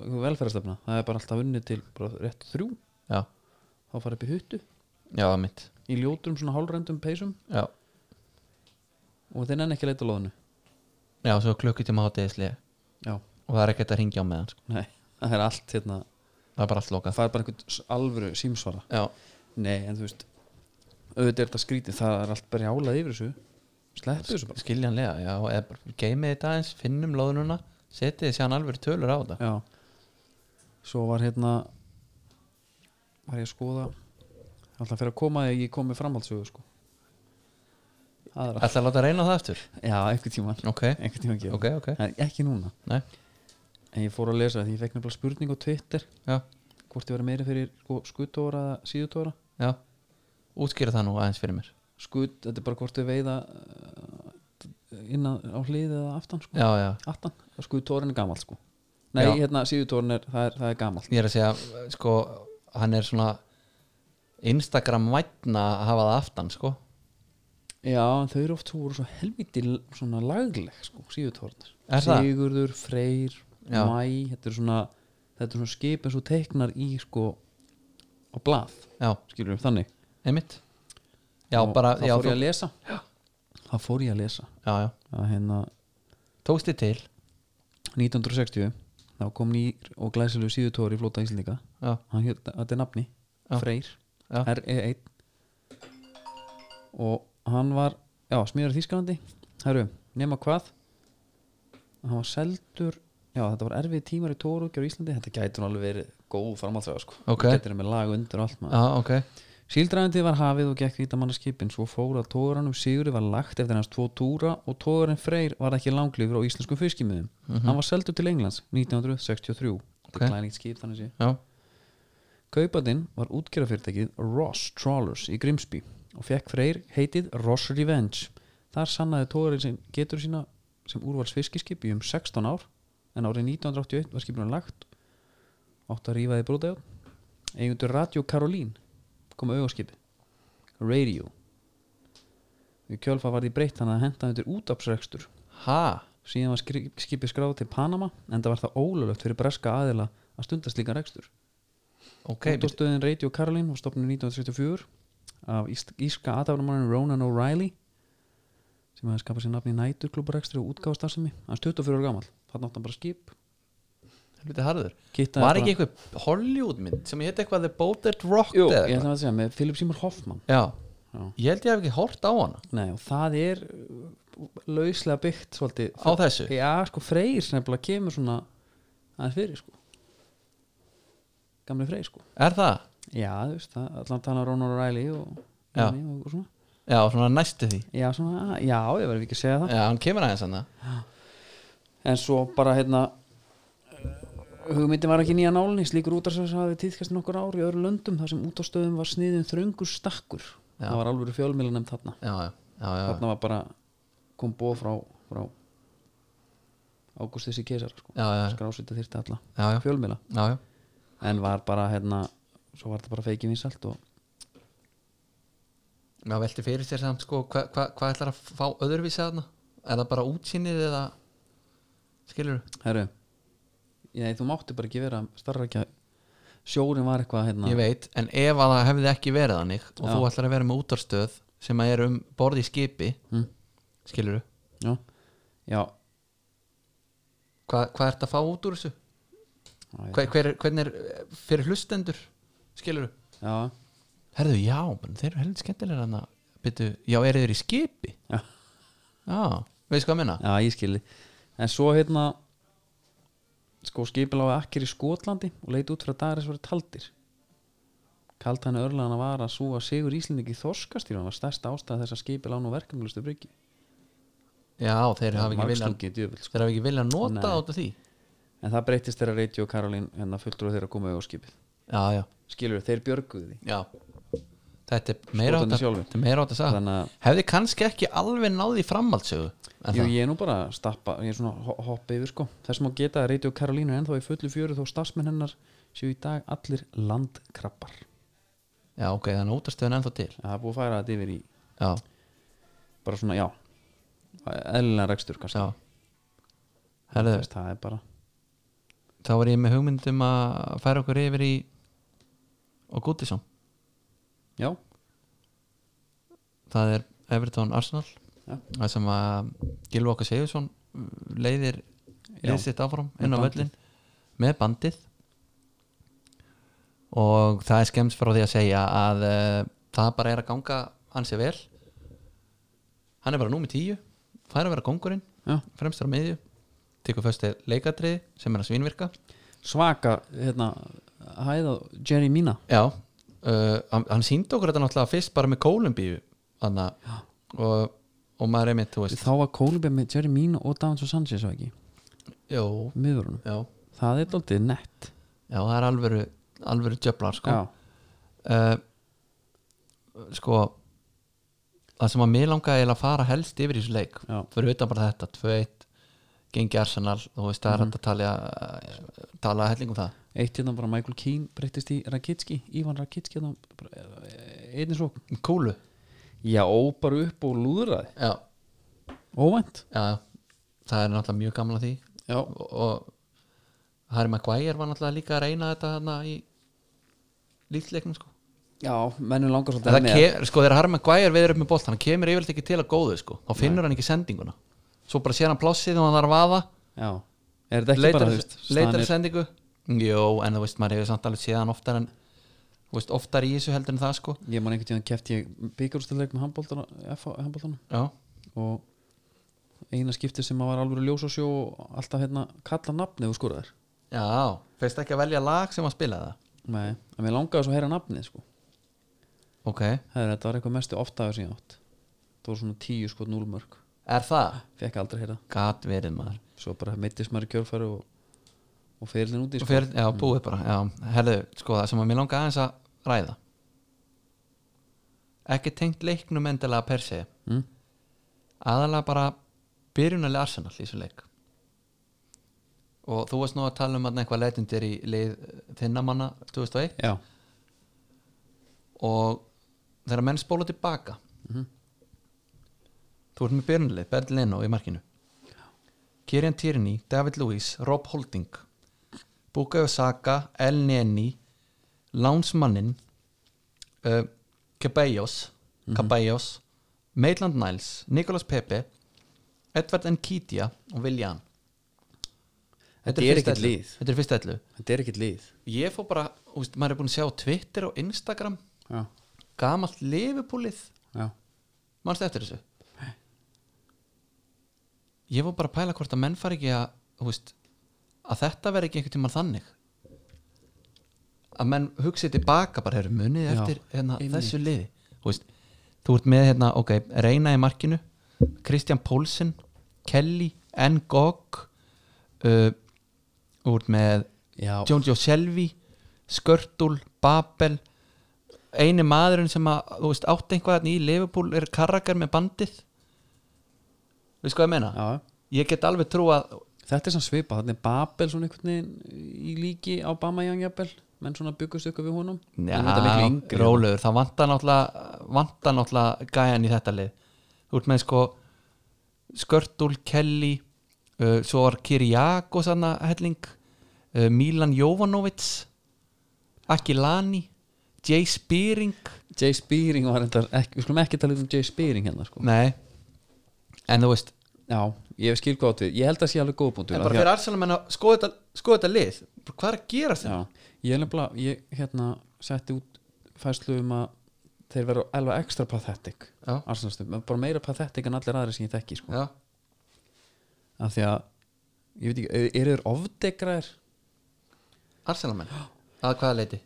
A: velferðastefna, það er bara alltaf unnið til bara rétt þrjú,
B: já
A: þá fara upp í huttu
B: já emitt
A: í ljótum svona hálrendum peysum
B: já
A: og þeir nenni ekki að leita á loðinu
B: já svo klukkutíma hátíðislega
A: já,
B: E. og það er ekkert að ringja á meðan sko.
A: nei, það er allt hérna,
B: það er bara allt
A: það
B: lokað
A: fær bara einhvern s- alvöru símsvara
B: já
A: Nei, en þú veist auðvitað er þetta skrítið, það er allt bara jálað yfir þessu sleppu þessu bara
B: skiljanlega já eða bara geymið þetta eins finnum loðununa setið þið séðan alveg tölur á þetta
A: Já Svo var hérna var ég að skoða alltaf fyrir að koma þegar ég kom með framhaldsögu sko Aðra
B: ætla að láta reyna á það eftir
A: Já, einhvern tímann
B: ok
A: einhvern tímann gefa
B: ok ok
A: En ekki núna
B: nei
A: En ég fór að lesa því ég fekk nefnilega spurning á Twitter
B: já
A: hvort ég var meira fyrir sko, skutóra eða síðutóra
B: já útskýra það nú aðeins fyrir mér
A: skut, þetta er bara hvort við veiða eh, innan á hlið eða aftan sko
B: já já
A: 18, skuðtórin er gamalt sko Nei,
B: Já.
A: hérna síðutórin er, það er, það er gamalt
B: ég er að segja sko hann er svona Instagram vætna að hafa það aftan sko
A: Já, en þau eru oft svo voru svo helviti l- svona lagleg sko, síðutórinar
B: Er það?
A: Sigurður, Freyr,
B: Já.
A: Mæ þetta er svona, þetta er svona skip eins og teiknar í sko á blað,
B: já
A: skilur við þannig
B: einmitt já
A: Og
B: bara
A: Það
B: já,
A: fór
B: þú-
A: ég að lesa já. Það fór ég að lesa
B: já já
A: að hérna
B: tókst þið til
A: 1960 þá kom nýr og glæsilegu síðutóri í flóta Íslendinga
B: já
A: hann hér, þetta er nafni,
B: Já.
A: Freyr
B: Já.
A: R-E-1 og hann var já, smíður þýskalandi, herru nema hvað hann var seldur, já þetta var erfið tímar í Tórugjör Íslandi, þetta gætur alveg verið góð framhaldsvega sko,
B: Ok.
A: gætur með lag undir og allt maður
B: já ok
A: Síldræðandi var hafið og gekk vítamannaskipin svo fór að tóranum Sigurði var lagt eftir hans tvo túra og tóran Freyr var ekki langlifur á íslenskum fiskimiðum hann var seldur til Englands 1963
B: Mhm. Ok.
A: okay. glænigt skip þannig sé
B: já
A: Kaupandinn var útgerðafyrirtækið Ross Trawlers í Grimsby og fekk freyr heitið Ross Revenge. Þar sannaði tóðarinn sem getur sína sem úrvals fiskiskip í um 16 ár en árið 1981 var skipinu lagt átt að rífaði brúðið eigundur Radio Caroline kom auðvarskipi Radio í kjölfa var því breytt hann að henda undir útapsrekstur
B: ha
A: síðan var skri- skipið skráð til Panama en það var það ólöflegt fyrir breska aðila að stunda slíkan rekstur
B: ok
A: Útastöðin Radio Caroline var stopnum 1964 af íst- íska aðdæfnamannin Ronan O'Reilly sem hefði skapað sér nafni næturklúbarekstri og útgáfastarfsemi hann er 24 ára gamall, þannig átt hann bara skip
B: helviti harður
A: Kittaði
B: var
A: bara-
B: ekki eitthvað Hollywoodmynd sem hétt eitthvað The Boated Rock
A: Jú,
B: eða
A: ég
B: eitthvað?
A: ætla að segja, með Philip Seymour Hoffman
B: Já.
A: Já.
B: ég held ég hef ekki hort á hana
A: Nei, og það er uh, lauslega byggt svolítið
B: á þessu
A: Já, sko, Freyr nefnilega kemur svona aðeins fyrir, sko Gamli Freyr, sko
B: er það?
A: Já, þú veist, það- allan tannur Ronald O'Reilly og,
B: Já.
A: og svona
B: já, svona næstu því
A: Já, svona, já, ég verður ekki að segja það
B: já, hann kemur aðeins hann
A: En svo bara, hérna eh, hugmyndin var ekki nýja nálni slíkur útarsvæðs hafði tíðkast í nokkur ár í öðru löndum þar sem útastöðum var sniðin þröngur stakkur
B: Já.
A: það var alveg fjölmjölu nefnd þarna
B: já, já, já, já,
A: þarna var bara kom bóð frá, frá Ágústis í Kesar sko.
B: já, já,
A: skrásvita þyrti alla
B: já, já,
A: fjölmjöla
B: já, já.
A: en var bara hérna svo var þetta bara feikið vinsalt og
B: Já, velti fyrir sér samt sko hvað hva, hva ætlar að fá öðruvísi þarna? Er það bara útsýnið eða skilur
A: herru, ég, þú mátti bara ekki vera starra ekki að sjórin var eitthvað hérna
B: Ég veit, en ef að það hefði ekki verið þannig og
A: Já.
B: þú ætlar að vera með útarstöð sem að er um borði í skipi
A: Mm.
B: skilur
A: já, já,
B: hvað hva ert að fá út úr þessu?
A: já,
B: Hver, hver, hvernig er eh, fyrir hlustendur? Skilur
A: já,
B: Herðu, já, menn, þeir eru heldur skemmtilega hann að byttu, já, eru þeir í skipi?
A: já,
B: Já, veist hvað að minna?
A: já, ég skilji en svo hérna sko skipiláði akkir í Skotlandi og leit út fyrir að dagris voru taldir kalt hann örlaðan að vara svo að Sigur Íslendingi þorskastýrun var stærsta ástæða þess að skipilán og verkefnilustu bryggi
B: Já, þeir hafa ekki viljað
A: Margslungið djöfull, sko.
B: þeir hafa ekki viljað nota
A: Nei.
B: át af því
A: en það breytist þeirra Reyti og Karolín en það fulltrú þeirra komu á skipið
B: Já, já
A: skilur þeir björguðu því
B: Já Þetta er meira átt
A: Skotarnir
B: að,
A: sjálfir.
B: þetta er meira átt að sagða
A: þannig að
B: Hefði kannski ekki alveg náði framhaldsögu er
A: Jú,
B: það?
A: ég er nú bara að stappa, ég er svona ho- hoppa yfir sko þess má geta að Reyti og Karolínu ennþá í fullu fjöru þó starfsmenn hennar séu í dag allir landkrabbar
B: Já, ok, þannig að útastöðun ennþá til
A: það er búið að færa þetta yfir í
B: Já,
A: bara svona, já eðlilega rekstur kannski
B: já Herðu,
A: Þess, það er bara,
B: þá var ég með hugmyndum að færa okkur yfir í og Gútisson
A: já,
B: Það er Everton Arsenal
A: Já.
B: Það sem að Gilvi okkar Sigursson leiðir
A: Já.
B: leiðsitt áfram inn á
A: Með
B: völlin með bandið og það er skemmt frá því að segja að uh, það bara er að ganga hans vel hann er bara númið tíu fær að vera kongurinn,
A: já
B: fremstur á miðju tekur föstu leikatriði sem er að svínvirka
A: svaka, hérna, hæða Jerry Mina,
B: já, uh, hann, hann síndi okkur þetta náttúrulega fyrst bara með Kólumbíu þannig að og, og maður er mitt, þú veist
A: þá var Kólumbja með Jerry Mina og Downs og Sanchez og ekki,
B: Jó,
A: miðurunum
B: já,
A: það er daldið nett
B: já, það er alvöru alvöru djöflar sko
A: já,
B: uh, sko það sem að mér langaði eiginlega að fara helst yfir í þessu leik
A: já,
B: fyrir utan bara þetta, 2-1 gengi Arsenal, þú veist það er hægt að tala tala helling um það
A: eitt hérna bara Michael Keane breyttist í Rakitski, Ivan Rakitski hérna, bara, eh, einnig svo
B: kúlu,
A: já, ó, bara upp og lúðraði
B: já,
A: óvænt
B: já það er náttúrulega mjög gamla því
A: já,
B: og, og Harry Maguire var náttúrulega líka að reyna þetta þarna í lítleiknum sko
A: já mennum langar
B: En
A: svolítið
B: það
A: með-
B: kem, sko þegar Harry Maguire veður upp með bolt hann kemur yfirleitt ekki til að góðu sko þá finnur hann ekki sendinguna svo bara sér hann plássið og hann þarf að vaða
A: já, er þetta ekki
B: leitar,
A: bara þú veist,
B: leitar
A: staðan er-
B: sendingu Jó, en þú veist, maður hefur samt alveg séðan oftar en þú veist, oftar í þessu heldur en það sko
A: ég man einhvern tíðan kefti ég byggarústileik með handbóltana, FH handbóltana
B: Já,
A: og eina skipti sem maður var alveg ljós og sjó og alltaf hérna kalla nafnið og skoraðir
B: já, feist ekki að velja lag sem að spila það
A: nei, en mér langaði svo að heyra nafnið sko
B: Ok,
A: Herra, þetta var eitthvað mestu oftaður sem ég átt það voru svona tíu skot núlmörk
B: er það?
A: fekk aldrei að heyra
B: Gat verið maður
A: svo bara meittist maður í kjölfæru og, og fyrirlin úti
B: Svo
A: sko.
B: Fyrir, já, búið bara, já, herðu, sko það sem að mér langa aðeins að ræða ekki tengt leiknum endilega per se
A: mm?
B: aðalega bara byrjunarlega Arsenal í þessu leik og þú varst nú að tala um þarna eitthvað leitindir í lið þinnamanna 2001
A: já,
B: og þegar menn spóla tilbaka þú ert með byrjunarlið Bernd Leno í markinu Kieran Tierney, David Lewis, Rob Holding Bukayo Saka, El Neni Lánsmannin uh, Caballos,
A: Mhm.
B: Caballos Maitland Niles, Nicolas Pepe Edward Nkidia og Viljan
A: Þetta er ekkert lið.
B: Þetta er fyrst ellu
A: þetta er ekkert lið
B: Ég fór bara, úst, maður er búin að sjá Twitter og Instagram
A: já,
B: gamalt lifupúlið
A: já,
B: mannstu eftir þessu ég fór bara að pæla hvort að menn fari ekki að þú veist, að þetta veri ekki einhvern tímann þannig að menn hugsið tilbaka bara hefur munið
A: Já,
B: eftir hérna,
A: einmitt.
B: þessu liði þú, veist, þú ert með hérna, ok, Reina í markinu Kristján Pólsen Kelly, Ngog uh, þú ert með
A: já,
B: John Joe Shelby Skörtul, Babel eini maðurinn sem að þú veist, átti eitthvað þarna í Liverpool er Karrakar með bandið veist hvað ég meina?
A: já.
B: ég get alveg trú að
A: þetta er svona svipa, þetta er Babel svona einhvern veginn í líki á Bama Jangjabel menn svona byggust ykkur við honum En þetta er miklu yngri.
B: rólegur, það vantar náttúrulega vantar náttúrulega gæjan í þetta lið þú ert með sko Skörtul, Kelly uh, svo var Kiriakos anna helling uh, Milan Jovanovic Akilani Jay Spearing
A: Jay Spearing var endar ekki, við skulum ekki tala um Jay Spearing hérna sko.
B: Nei En þú veist
A: já, ég skil gott við, ég held að sé alveg góðbúndur
B: En bara fyrir Arsenal menn að skoða þetta, skoða þetta lið Hvað er að gera þetta?
A: Já, ég nefnilega, ég hérna setti út fæslu um að þeir vera alveg ekstra pathetic
B: Já.
A: Arsenalstum, bara meira pathetic en allir aðri sem ég þekki sko.
B: Já,
A: af því að, ég veit ekki, eru þeir ofdegraðir?
B: Arsenal menn Að hvaða leiti?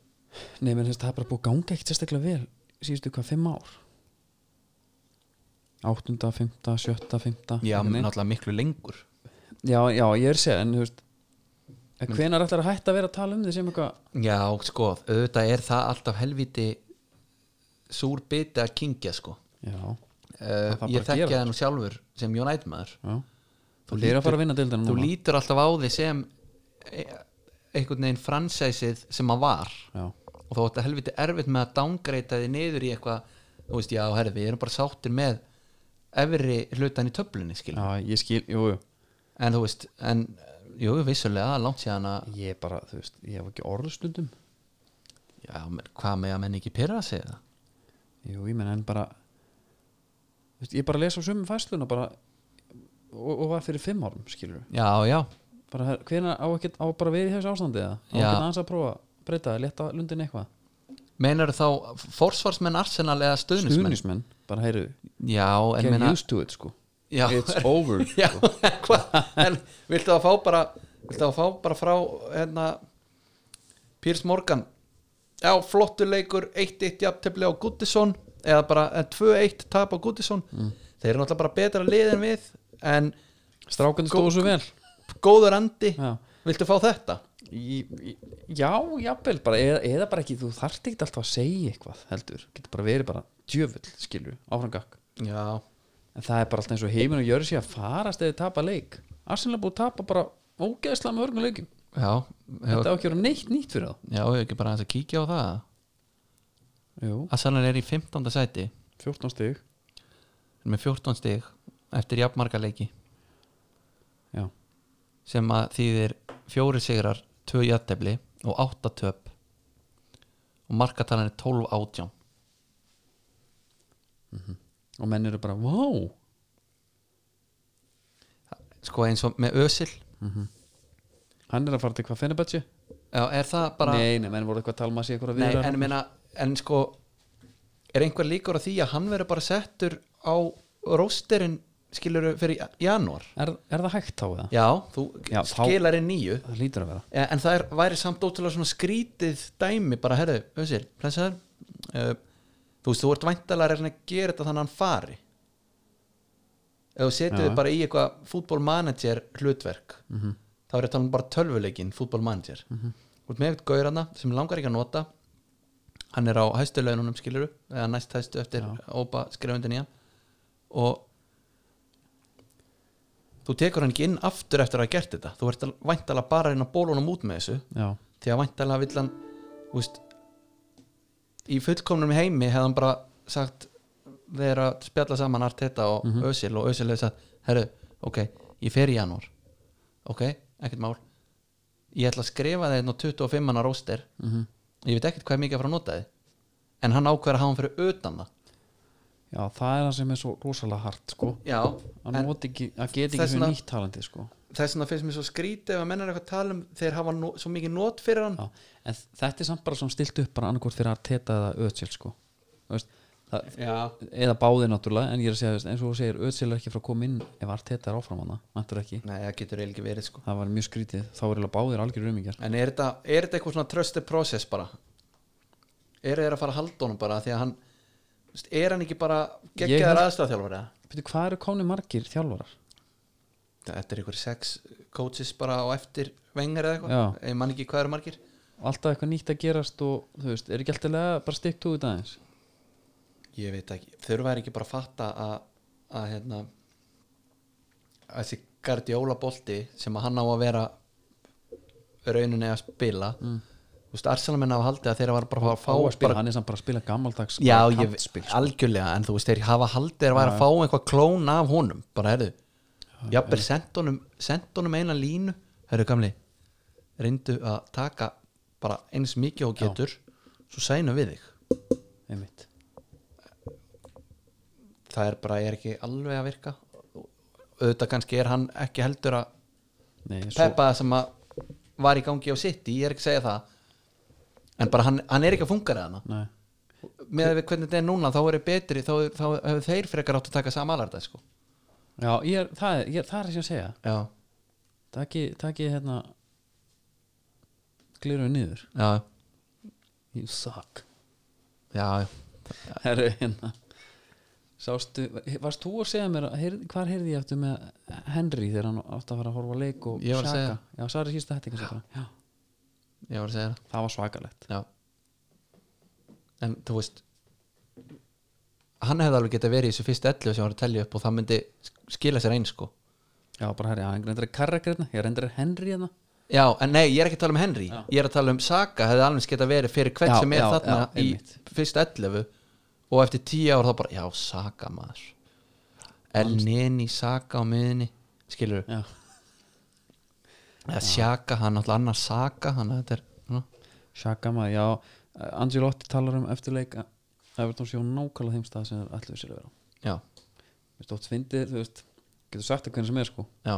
A: Nei, menn þess að það er bara búið að ganga ekkert sérstaklega vel síðustu hvað, fimm ár? Áttunda, fymta, sjötta, fymta
B: Já, náttúrulega miklu lengur
A: já, já, ég er að segja, en þú veist en hvenær ætlar að hætta að vera að tala um því sem eitthvað
B: Já, sko, auðvitað er það alltaf helviti Súr biti að kingja, sko
A: Já,
B: uh,
A: þarf bara
B: Ég
A: að
B: þekki
A: gera
B: það nú sjálfur sem United maður
A: já Þú lýr að fara að vinna deildina
B: Þú
A: núna.
B: lítur alltaf á því sem e- einhvern veginn fransæsið sem að var
A: Já,
B: og þá átti helviti erfitt með að downgreita þið niður í eitthvað þú veist, já, herri, við erum bara sáttir með efri hlutan í töflunni, skil
A: já, ég skil, jú, jú
B: en þú veist, en, jú, vissulega það er langt síðan að,
A: ég bara, þú veist, ég hef ekki orðstundum
B: já, men- hvað með að menn ekki pyrra sig það?
A: jú, ég menn en bara þú veist, ég bara lesa á sömu fæsluna bara og, og var fyrir fimm árum, skilur
B: Já, já,
A: bara hvernig á ekkert, á bara við í þessu ástandi eða, á
B: Já.
A: ekkert aðeins að prófa breyta, það, leta lundin eitthvað
B: meinar þá forsvarsmenn Arsenal eða stuðnismenn?
A: stuðnismenn, bara heyru,
B: Já, en
A: get
B: meina
A: used to it sko
B: já,
A: it's over
B: já, en hvað, en viltu að fá bara viltu að fá bara frá hérna, Pírs Morgan já, flottur leikur 1-1 jafntefli á Guttisson eða bara eh, 2-1 tap á Guttisson
A: Mm.
B: þeir eru náttúrulega bara betra lið en við en
A: strákandi stóðu svo vel
B: góður andi
A: Já.
B: viltu fá þetta?
A: Í- í- já, jafnvel, bara eða, eða bara ekki, þú þarft ekkert alltaf að segja eitthvað heldur, getur bara verið bara djöfull skilur, áframgakk
B: já,
A: en það er bara alltaf eins og heiminn og jörg sér að farast eða tapa leik Arsenal er búið að tapa bara ógeðslega með hörgum leikum
B: já,
A: þetta á ekki að vera neitt nýtt fyrir
B: já, hefur ekki bara aðeins að kíkja á það
A: það Jú,
B: Arsenal er í 15. sæti
A: 14 stig
B: með 14 stig eftir jafnmarga leiki
A: Já,
B: sem að þýðir fjóri sigrar, tvö jættefli og átta töp og markatalan er 12 átján
A: og menn eru bara, vá
B: sko eins og með Özil
A: hann er að fara til hvað Fenerbahce
B: já, er það bara
A: Nei, nei, menn voru eitthvað að tala maður sér eitthvað
B: Nei,
A: viðræður.
B: en, meina, en sko er einhver líkur á því að hann verður bara settur á rósterinn skilur fyrir janúar
A: er, er það hægt þá eða?
B: já, þú
A: Já, þá-
B: skilar inn nýju
A: Það lítur að vera
B: Eh, en það er, væri samt ótrúlega svona skrítið dæmi bara, herðu, Özil, blessaður uh, þú veist, þú ert væntalega að reyna að gera þetta þannig að hann fari ef þú setur
A: Já.
B: þið bara í eitthvað fútbolmanager hlutverk
A: Mhm,
B: þá er þetta talað um bara tölvuleikin fútbolmanager mm -hmm. út með eitthvað gaurana sem langar ekki að nota hann er á hæstu laununum skiluru eða næst hæstu eftir
A: Já.
B: ópa skrifundin í hann og þú tekur hann ekki inn aftur eftir að hafa gert þetta þú ert væntalega bara að reyna að bóla honum út með þessu
A: Já,
B: því að væntalega vill hann þú veist, í fullkomnum heimi hefði hann bara sagt við erum að spjalla saman Arteta og mm Özil og Özil hefði sagt herru, ok, ég fer í janúar ok, ekkert mál ég ætla að skrifa þeirn og 25 manna róster
A: Mhm.
B: ég veit ekkert hvað er mikið að fara að nota þið en hann ákveður að hafa hann fyrir utan það
A: já, það er það sem er svo rosalega hart sko.
B: já,
A: að,
B: en
A: nota ekki, að geta ekki
B: þess
A: fyrir
B: vegna-
A: nýtt talandi sko.
B: þess vegna finnst mér svo skrítið ef að menn er eitthvað að tala um þeir hafa no, svo mikið nót fyrir hann
A: Já, en þetta er samt bara sem stilt upp bara annarkvort fyrir Arteta eða Ötsel sko. Þú veist, það,
B: já,
A: eða báðir náttúrulega en ég er að segja þú veist, eins og þú segir Ötsel er ekki frá að koma inn ef Arteta er áfram hana, mæntur ekki
B: nei, það getur eiginlega ekki verið sko
A: það var mjög skrítið, þá er eiginlega báðir um algjör umingjar
B: en er þetta, er þetta eitthvað svona trusted process bara er þeir að fara að halda honum bara af því að hann þú veist, er hann ekki bara
A: Ég
B: geggjaðar
A: held-
B: aðstæðarþjálfari eða?
A: Býtu, hvað eru komni margir þjálfarar?
B: þetta er einhver sex coaches bara á eftir vengar eða eitthvað,
A: Já.
B: ég man ekki hvað eru margir
A: Alltaf eitthvað nýtt að gerast og þú veist, er ekki alltaf lega bara stikkt út aðeins
B: ég veit ekki, þurfa er ekki bara að fatta að, að hérna að þessi gardjóla bolti sem að hann á að vera rauninni að spila mm. þú veist, Arsalamenn hafa haldið að þeirra var bara að fá,
A: Fá að spila,
B: bara,
A: hann er samt bara að spila gammaldags
B: já,
A: bara
B: ég,
A: kantspil, sko.
B: algjörlega en þú veist, þeir hafa haldið þeir var að fá einhvað klón af honum, bara heyrðu jafnvel sent honum, sent honum eina línu heyrðu gamli reyndu að taka bara eins mikið og
A: Já.
B: getur svo sænum við þig
A: Einmitt.
B: það er bara er ekki alveg að virka auðvitað kannski er hann ekki heldur að
A: Nei, svo,
B: peppa það sem að var í gangi á sitt ég er ekki að segja það en bara hann, hann er ekki að funka það
A: nei,
B: með að við hvernig þetta er núna þá eru betri, þá, þá hefur þeir frekar átt að taka samalarda sko.
A: já, ég er, það, er- ég, það er sem að segja
B: já,
A: takki, takki hérna gliru niður
B: já,
A: you suck
B: já
A: Herru, hérna Sástu, varst þú að segja mér að heyr, hvar heyrði ég eftir með Henry þegar hann átti að fara að horfa á leik og
B: Ég var að
A: Xhaka?
B: segja.
A: Já, það er síðust að þetta bara Já,
B: ég var að segja það
A: það var svakalegt
B: já. en þú veist hann hefði alveg getað verið í þessu fyrst 11 sem hann var að telja upp og það myndi skila sér eins sko.
A: Já, bara herri, hann reyndar er Carragher hérna, ég reyndar er Henry hérna
B: Já, en nei, ég er ekki að tala um Henry Ég er að tala um Saka, hefði alveg geta verið fyrir hvern
A: Já,
B: sem er
A: já,
B: þarna
A: já, einmitt.
B: í fyrst 11 og eftir 10 ár þá bara, já, Saka maður El Neni Saka á miðinni, skilur
A: Já,
B: eða Sjaka, hann alltaf annar Saka hann að þetta er, ná,
A: Xhaka maður, já Angelotti talar um eftir leik að Everton séu nákvæmlega þeim stað sem þeir allir sér að vera á.
B: já,
A: Þú veist, oft fyndið, þú veist getur sagt það hvernig sem er sko,
B: já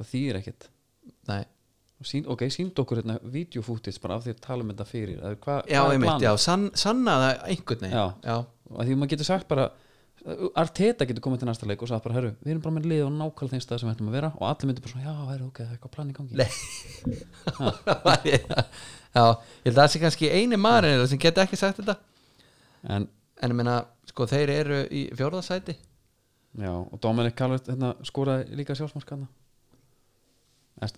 A: það þýðir ekkit
B: nei,
A: Og Sín, ok, sínd okkur hérna videofútis bara af því að tala um þetta fyrir eða hva,
B: já,
A: hvað er
B: einmitt,
A: planið?
B: já, sann, sanna það einhvern veginn,
A: Já.
B: já,
A: og að því maður getur sagt bara uh, Arteta getur komið til næsta leik og sagt bara herru, við erum bara með lið og nákvæmlega þeim stað sem við ætlum að vera og allir myndir bara svona, já, herru, ok, það er eitthvað plan í gangi
B: Nei. já. ég held að það sé kannski eini maðurinn er sem geta ekki sagt þetta
A: en,
B: en ég meina, sko, þeir eru í fjórðasæti
A: já, og Dominic Calvert hérna, skoraði líka sjálfsmark hann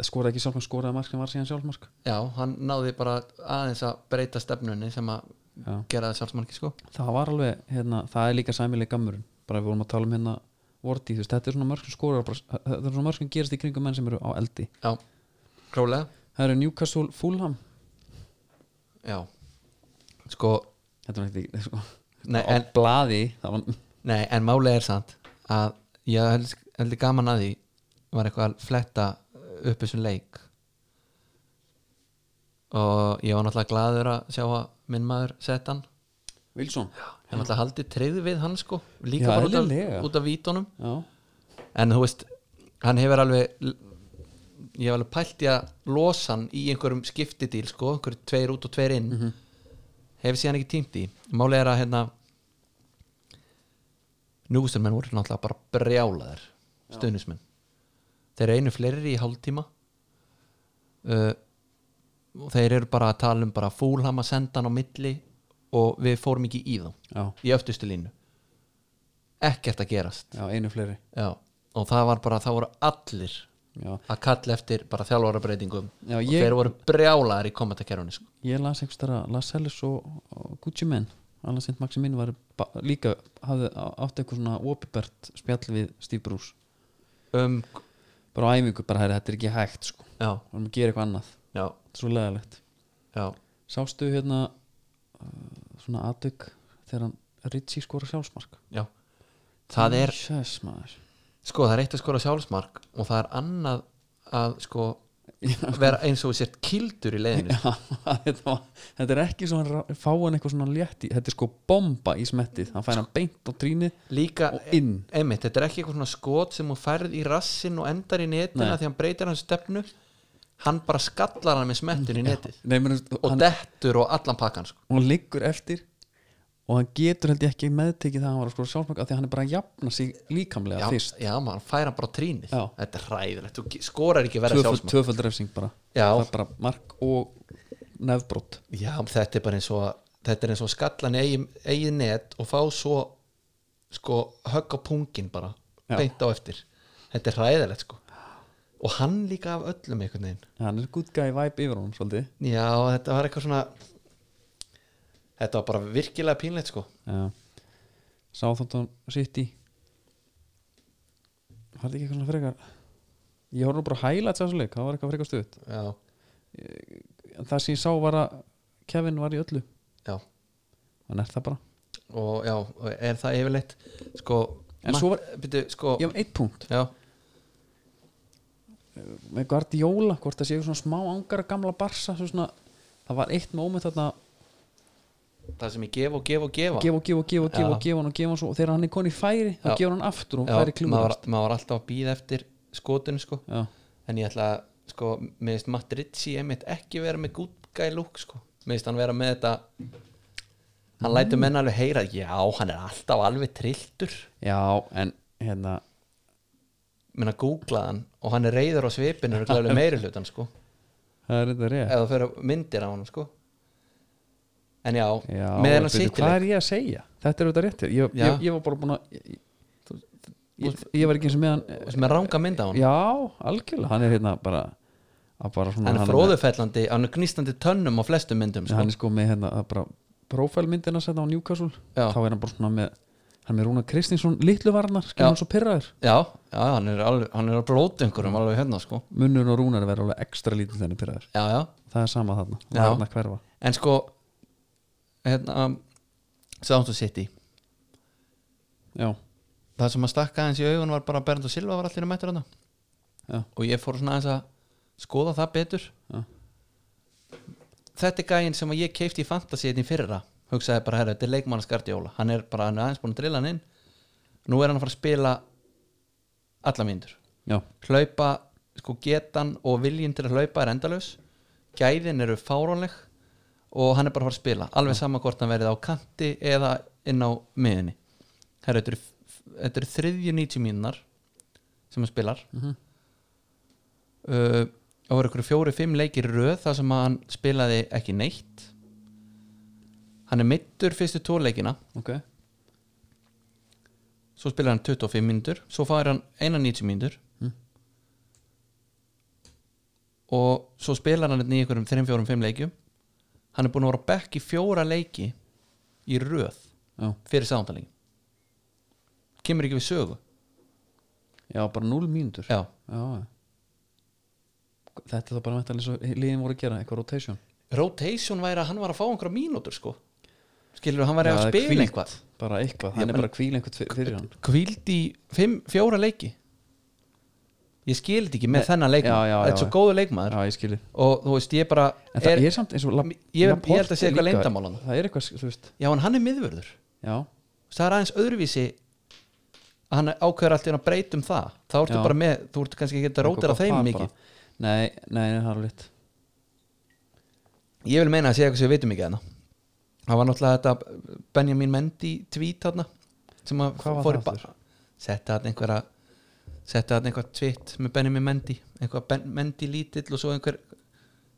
A: skoraði ekki sjálfsmark, skoraði mark sem var síðan sjálfsmark
B: Já, hann náði bara aðeins að breyta stefnunni sem að
A: Já.
B: gera það sjálfsmarki sko
A: það var alveg, hérna, það er líka sæmileg gammurinn, bara við vorum að tala um hérna Vorti, þú veist, þetta er svona mörg sem skorar bara, þetta er svona mörg sem gerist í kringum menn sem eru á eldi
B: Já, klálega
A: það eru Newcastle Fulham
B: Já, sko
A: þetta var ekki, sko,
B: Nei,
A: á
B: en-
A: blaði það var,
B: Nei, en málið er samt að ég held, heldur gaman að því var eitthvað að fletta upp þessum leik og ég var náttúrulega gladur að sjá að minn maður sett hann
A: Wilson
B: ég náttúrulega haldið tryggð við hann sko
A: Já,
B: líka bara út
A: eðlilega.
B: af, út af vítunum
A: já,
B: en þú veist hann hefur alveg ég hef alveg pælt í að losa hann í einhverjum skiptidíl sko, einhverjum tveir út og tveir inn hefur síðan ekki tímt í máli er að hérna núgusturmenn voru náttúrulega bara brjálaðar stuðnismenn þeir eru einu fleiri í hálftíma uh, og þeir eru bara að tala um bara fúlhama sendan á milli og við fórum ekki í þá
A: já,
B: í öftustu línu ekkert að gerast
A: já, einu fleiri
B: Já, og það var bara, það voru allir
A: já.
B: að kalla eftir bara þjálfarabreitingum
A: Já,
B: og
A: ég-
B: þeir voru brjálaðar í komendakerfunni sko.
A: ég las einhvers þar að Lascelles og, og Gucci menn Alan Sint Maximin var ba- líka hafði á- átt eitthvað svona opibert spjall við Steve Bruce
B: um,
A: bara á æfingu, bara herri, þetta er ekki hægt sko.
B: já,
A: við erum að gera eitthvað annað,
B: já,
A: þetta er svo leðalegt
B: já
A: sástu hérna uh, svona aðdug þegar hann Ritchie skora sjálfsmark
B: já, það er
A: Jesus, maður.
B: sko, það er eitt að skora sjálfsmark og það er annað að sko vera eins og þú sért kildur í leiðinu
A: Já, þetta, var, þetta er ekki svona fá hann eitthvað svona létti, þetta er sko bomba í smettið, hann fær hann beint á trýnið
B: líka,
A: og inn
B: einmitt, þetta er ekki eitthvað svona skot sem hún færð í rassin og endar í netina
A: Nei.
B: því hann breytir hans stefnu hann bara skallar hann með smettun í netið
A: Nei, meni,
B: og
A: hann,
B: dettur og allan pakkan sko.
A: hún liggur eftir og hann getur held ég ekki meðtekið það að hann var að skora sjálfsmark af því að hann er bara að jafna sig líkamlega
B: já,
A: fyrst
B: já, maður fær hann bara á trýnið
A: Já.
B: þetta er hræðilegt, þú skorar ekki verða
A: Tvöföld-
B: sjálfsmörg
A: tvöföld refsing bara
B: Já.
A: það er bara mark og nefbrott
B: já, þetta er bara eins og að- þetta er eins og að skalla hann í eigin, eigin net og fá svo sko, högg á pungin bara
A: Já.
B: beint á eftir, þetta er hræðilegt sko. og hann líka af öllum einhvern veginn
A: hann er good guy vibe yfir honum svolítið
B: Já, þetta var eitthvað svona Þetta var bara virkilega pínlegt sko
A: Já. Southampton City var þetta ekki eitthvað svona frekar ég horfði nú bara að hæla þessu leik það var eitthvað frekar stuðt
B: Já,
A: en það sem ég sá var að Kevin var í öllu
B: já
A: hann er það bara
B: Og já, og er það yfirleitt Sko,
A: En
B: Matt-
A: svo var-
B: byrju, sko,
A: ég hef eitt punkt
B: já,
A: með Guardiola hvort það séu svona smá angara gamla barsa svo svona það var eitt moment þarna
B: það sem ég gef og gef og gefa
A: gefa og gefa og gefa og gefa
B: Já.
A: og gefa hann og gefa hann svo og þegar hann er koni í færi þá
B: Já.
A: gefur hann aftur og
B: Já,
A: færi
B: maður,
A: klúðast
B: maður var alltaf að býða eftir skotinu sko
A: já,
B: En ég ætla að, sko, mér finnst Matt Ritchie einmitt ekki vera með good guy look sko Mér finnst hann vera með þetta Hann lætur menn alveg heyra Já, hann er alltaf alveg trilltur
A: já en hérna
B: minna googlaði hann og hann er reyður á svipinu og glæður meiri hlutan sko
A: það er þetta rétt
B: eða það fyrir myndir á hann sko en já,
A: já, veitu,
B: með hennar
A: hvað
B: sýttileg
A: er ég að segja? þetta er auðvitað rétt hjá- ég,
B: Já.
A: ég, ég var bara búin að ég, ég, ég var ekki eins og með hann
B: sem er ranga mynd á hann
A: já, algjörlega, hann er hérna bara að bara svona
B: hann er
A: með-
B: fróðufellandi, hann er gnýstandi tönnum á flestum myndum sko.
A: hann er sko með hérna að bara prófælmyndina setna á Newcastle
B: Já.
A: þá er hann bara svona með hann er með Rúna Kristinsson litlu varnar skilur
B: Já.
A: hann svo pyrraður
B: já, já, hann er, alveg, hann er að bróta einhverjum alveg hérna sko
A: munnur og Rúnar verður alveg ekstra lítill þenni pyrraður
B: já, já,
A: það er sama þarna
B: Já.
A: varna hverfa
B: en sko hérna Sound of City
A: já,
B: það sem að stakka aðeins í augun var bara að Bernd og Silva var allir að mæta hann
A: já,
B: og ég fór svona aðeins að skoða það betur
A: já,
B: þetta er gæinn sem að ég keifti í fantasy hérna í fyrra, hugsaði bara herra, þetta er leikmannaskartjóla, hann er bara hann er aðeins búin að drilla hann inn nú er hann að fara að spila alla myndur,
A: já.
B: hlaupa sko getan og viljinn til að hlaupa er endalaus, gæðin eru fárónleg og hann er bara að fara að spila alveg sama hvort hann verið á kanti eða inn á miðinni herra, þetta eru, þetta eru þriðju 90 mínunar sem hann spilar uh, það voru ykkur fjóri-fimm leikir í röð þar sem hann spilaði ekki neitt hann er mittur fyrstu tóleikina
A: ok
B: svo spilaði hann 25 mínútur svo fær hann 91 mínútur
A: Mm.
B: og svo spilaði hann í ykkurum 3-4-5 leikjum hann er búin að vera á bekk í fjóra leiki í röð
A: já,
B: fyrir sándalegi kemur ekki við sögu
A: já bara 0 mínútur já.
B: já
A: já. þetta er þá bara væntanlega eins og liðin voru að gera eitthvað rotation
B: rotation væri að hann var að fá einhverja mínútur sko skilur hann væri
A: Já,
B: að
A: það er
B: spila
A: hvíld.
B: eitthvað
A: bara eitthvað, hann
B: Já,
A: er
B: en-
A: bara kvíl einhvern fyr- fyrir hann
B: kvíld í fimm, fjóra leiki ég skil þetta ekki með
A: Nei,
B: þennan leikmann
A: já, já,
B: þetta er
A: já,
B: svo
A: já.
B: góðu leikmaður
A: já, ég skilji
B: og þú veist ég bara
A: en það
B: er,
A: er, samt eins og La-
B: ég, ég held að
A: Laporte
B: sé eitthvað
A: líka-
B: leyndarmál hann.
A: það er eitthvað, þú veist,
B: já en hann er miðvörður
A: já
B: það er aðeins öðruvísi að hann ákveður allt í hann að breytum það þá ertu
A: Já.
B: bara með, þú ertu kannski ekki að rótera
A: Eitthvað
B: þeim
A: gott par
B: mikið
A: bara. nei, nei, nei, það er alveg rétt.
B: ég vil meina að sé eitthvað sem við vitum ekki þarna það var náttúrulega þetta Benjamin Mendy tweet þarna sem að
A: Hvað var
B: fór í
A: það
B: ba-
A: aftur?
B: setta þarna einhverja setta þarna einhver tweet með Benjamin Mendy einhver ben, Mendy lítill og svo einhver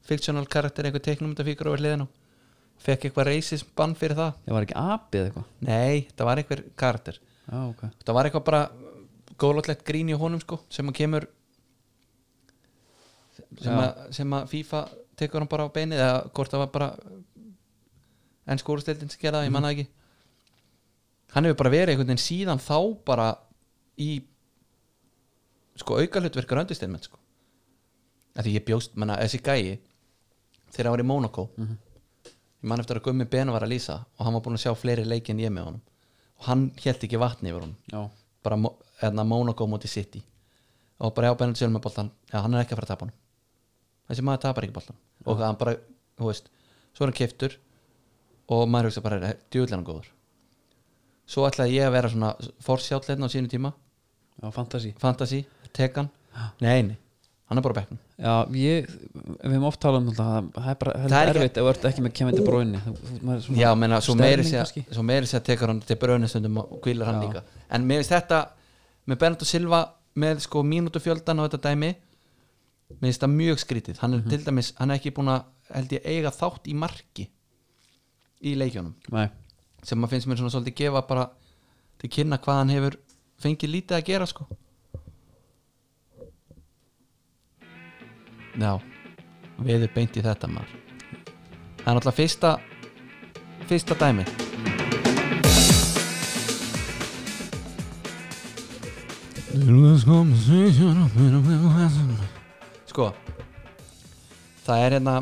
B: fictional karakter, einhver teiknumundafíkur over hliðinu fekk eitthvað racism bann fyrir það
A: það var ekki apið eitthvað
B: nei, það var einhver karakter
A: já, ok
B: það var eitthvað bara góðlótlegt grín í honum sko sem að kemur sem,
A: Já.
B: að, sem að FIFA tekur hann bara á beinið eða hvort það var bara enn skórusteldin sem gera það, ég manna ekki hann hefur bara verið einhvern veginn síðan þá bara í sko auka hlutverkur öndustelmenn sko að því ég bjóst, menna, þessi gæi þegar hann var í Monaco ég man eftir að Gummi Bena var að lýsa og hann var búin að sjá fleiri leiki en ég með honum og hann hélt ekki vatni yfir honum
A: já,
B: bara Mo- hérna, Monaco móti City og bara já, Benedikt Sjölmaboltan já, hann er ekki að fara að tapa hann þessi maður tapar ekki boltan og hann bara, þú veist, svo er hann keiftur og maður hugsa bara djúðlega góður svo ætlaði ég að vera svona forsjátleitn á sínu tíma,
A: á fantasi
B: fantasy, tekan nei, nei, hann er bara á bekknum
A: Já, ég, við höfum oft talað um þetta það það er bara það
B: Það er
A: er
B: ekki-
A: erfitt ef þú ert ekki með kemindi bróinni
B: Já, menna, svo meiri segja
A: kannski
B: svo meiri segja tekur hann til bröðnestundum og kvílar hann
A: Já.
B: líka en mér finnst þetta með Bernardo Silva með sko mínútufjöldan og þetta dæmi mér finnst það mjög skrítið
A: Mhm.
B: hann er til dæmis, hann er ekki búin að held ég eiga þátt í marki í leikjónum
A: Nei,
B: sem maður finnst mér svona svolítið gefa bara til kynna hvað hann hefur fengið lítið að gera sko Já við erum beint í þetta maður það er náttúrulega fyrsta fyrsta dæmi Sko það er hérna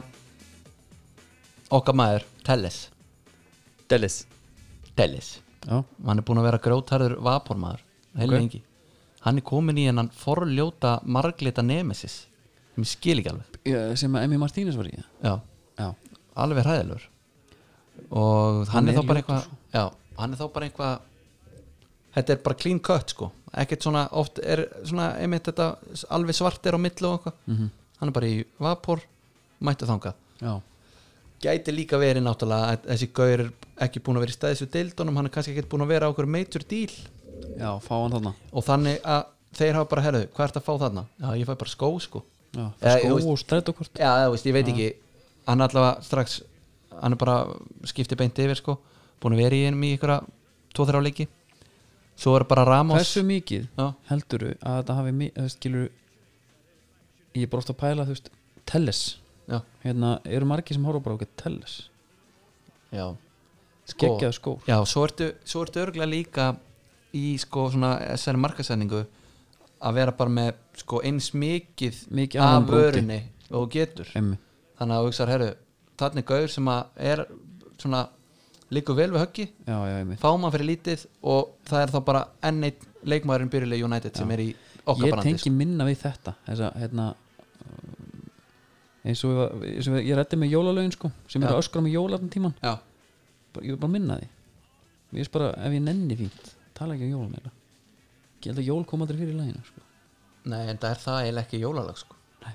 B: okkar maður Telles
C: Dallas
B: Telles
A: já,
B: og hann er búin að vera grjótarður vapormaður
A: Ok.
B: heilu lengi hann er komin í hennan forljóta marglita nemesis sem ég skil ekki alveg
A: Ég- sem að Emi Martínez var í já,
B: já,
A: já,
B: alveg hræðilur og hann,
A: Hann
B: er,
A: er
B: þá bara
A: ljótur,
B: eitthvað já, hann er þá bara eitthvað þetta er bara clean cut sko ekkert svona, oft er svona einmitt þetta s- alveg svart er á millu og eitthvað hann er bara í vapor mættu þangað
A: já,
B: gæti líka verið náttúrulega að þessi gaur er ekki búin að vera í stæðis við deildunum hann er kannski ekkert búin að vera á okkur major deal
A: já, fá hann þarna
B: og þannig að þeir hafa bara herðu, hvað ert að fá þarna? Já, ég fæ bara skó sko
A: já,
B: Eh,
A: skó
B: þú veist-
A: og strætókort
B: Já, þú veist, ég veit ekki hann allavega strax, hann er bara skiptið beint yfir sko, búin að vera í einum í ykkur tvo þrjá leiki svo er bara Ramos
A: hversu mikið
B: Já.
A: heldurðu að þetta hafi mi- þú veist, skilurðu ég er bara oft að pæla, þú veist, Telles
B: Já,
A: hérna, eru margir sem horfa bara okkur Telles
B: já. Sko,
A: geggjaðu skór
B: já, svo ertu, svo ertu örgulega líka í sko svona þessari markasendingu að vera bara með sko eins mikið,
A: Mikið af
B: af
A: honum úti.
B: vörunni og þú getur
A: Emi,
B: þannig að þú hugsaður, herru, þarna er gaur sem að er svona líku vel við höggi,
A: já, já, Emi
B: fá mann fyrir lítið og það er þá bara enn eitt leikmaðurinn byrjuleg United sem er í okkar sko."
A: ég
B: brandi
A: tengi minna við þetta þessa, hérna um, eins og, ég var- eins og ég- ég rætti með jólalögin sko, sem
B: Já.
A: eru að öskra með jólarn tíman
B: Já,
A: bara, ég vil bara minna því ég veist bara, ef ég nenni fínt tala ekki um jólum meira ég held að jól kom aldrei fyrir í lægina sko.
B: nei, en það er það eiginlega ekki jólalag sko
A: Nei.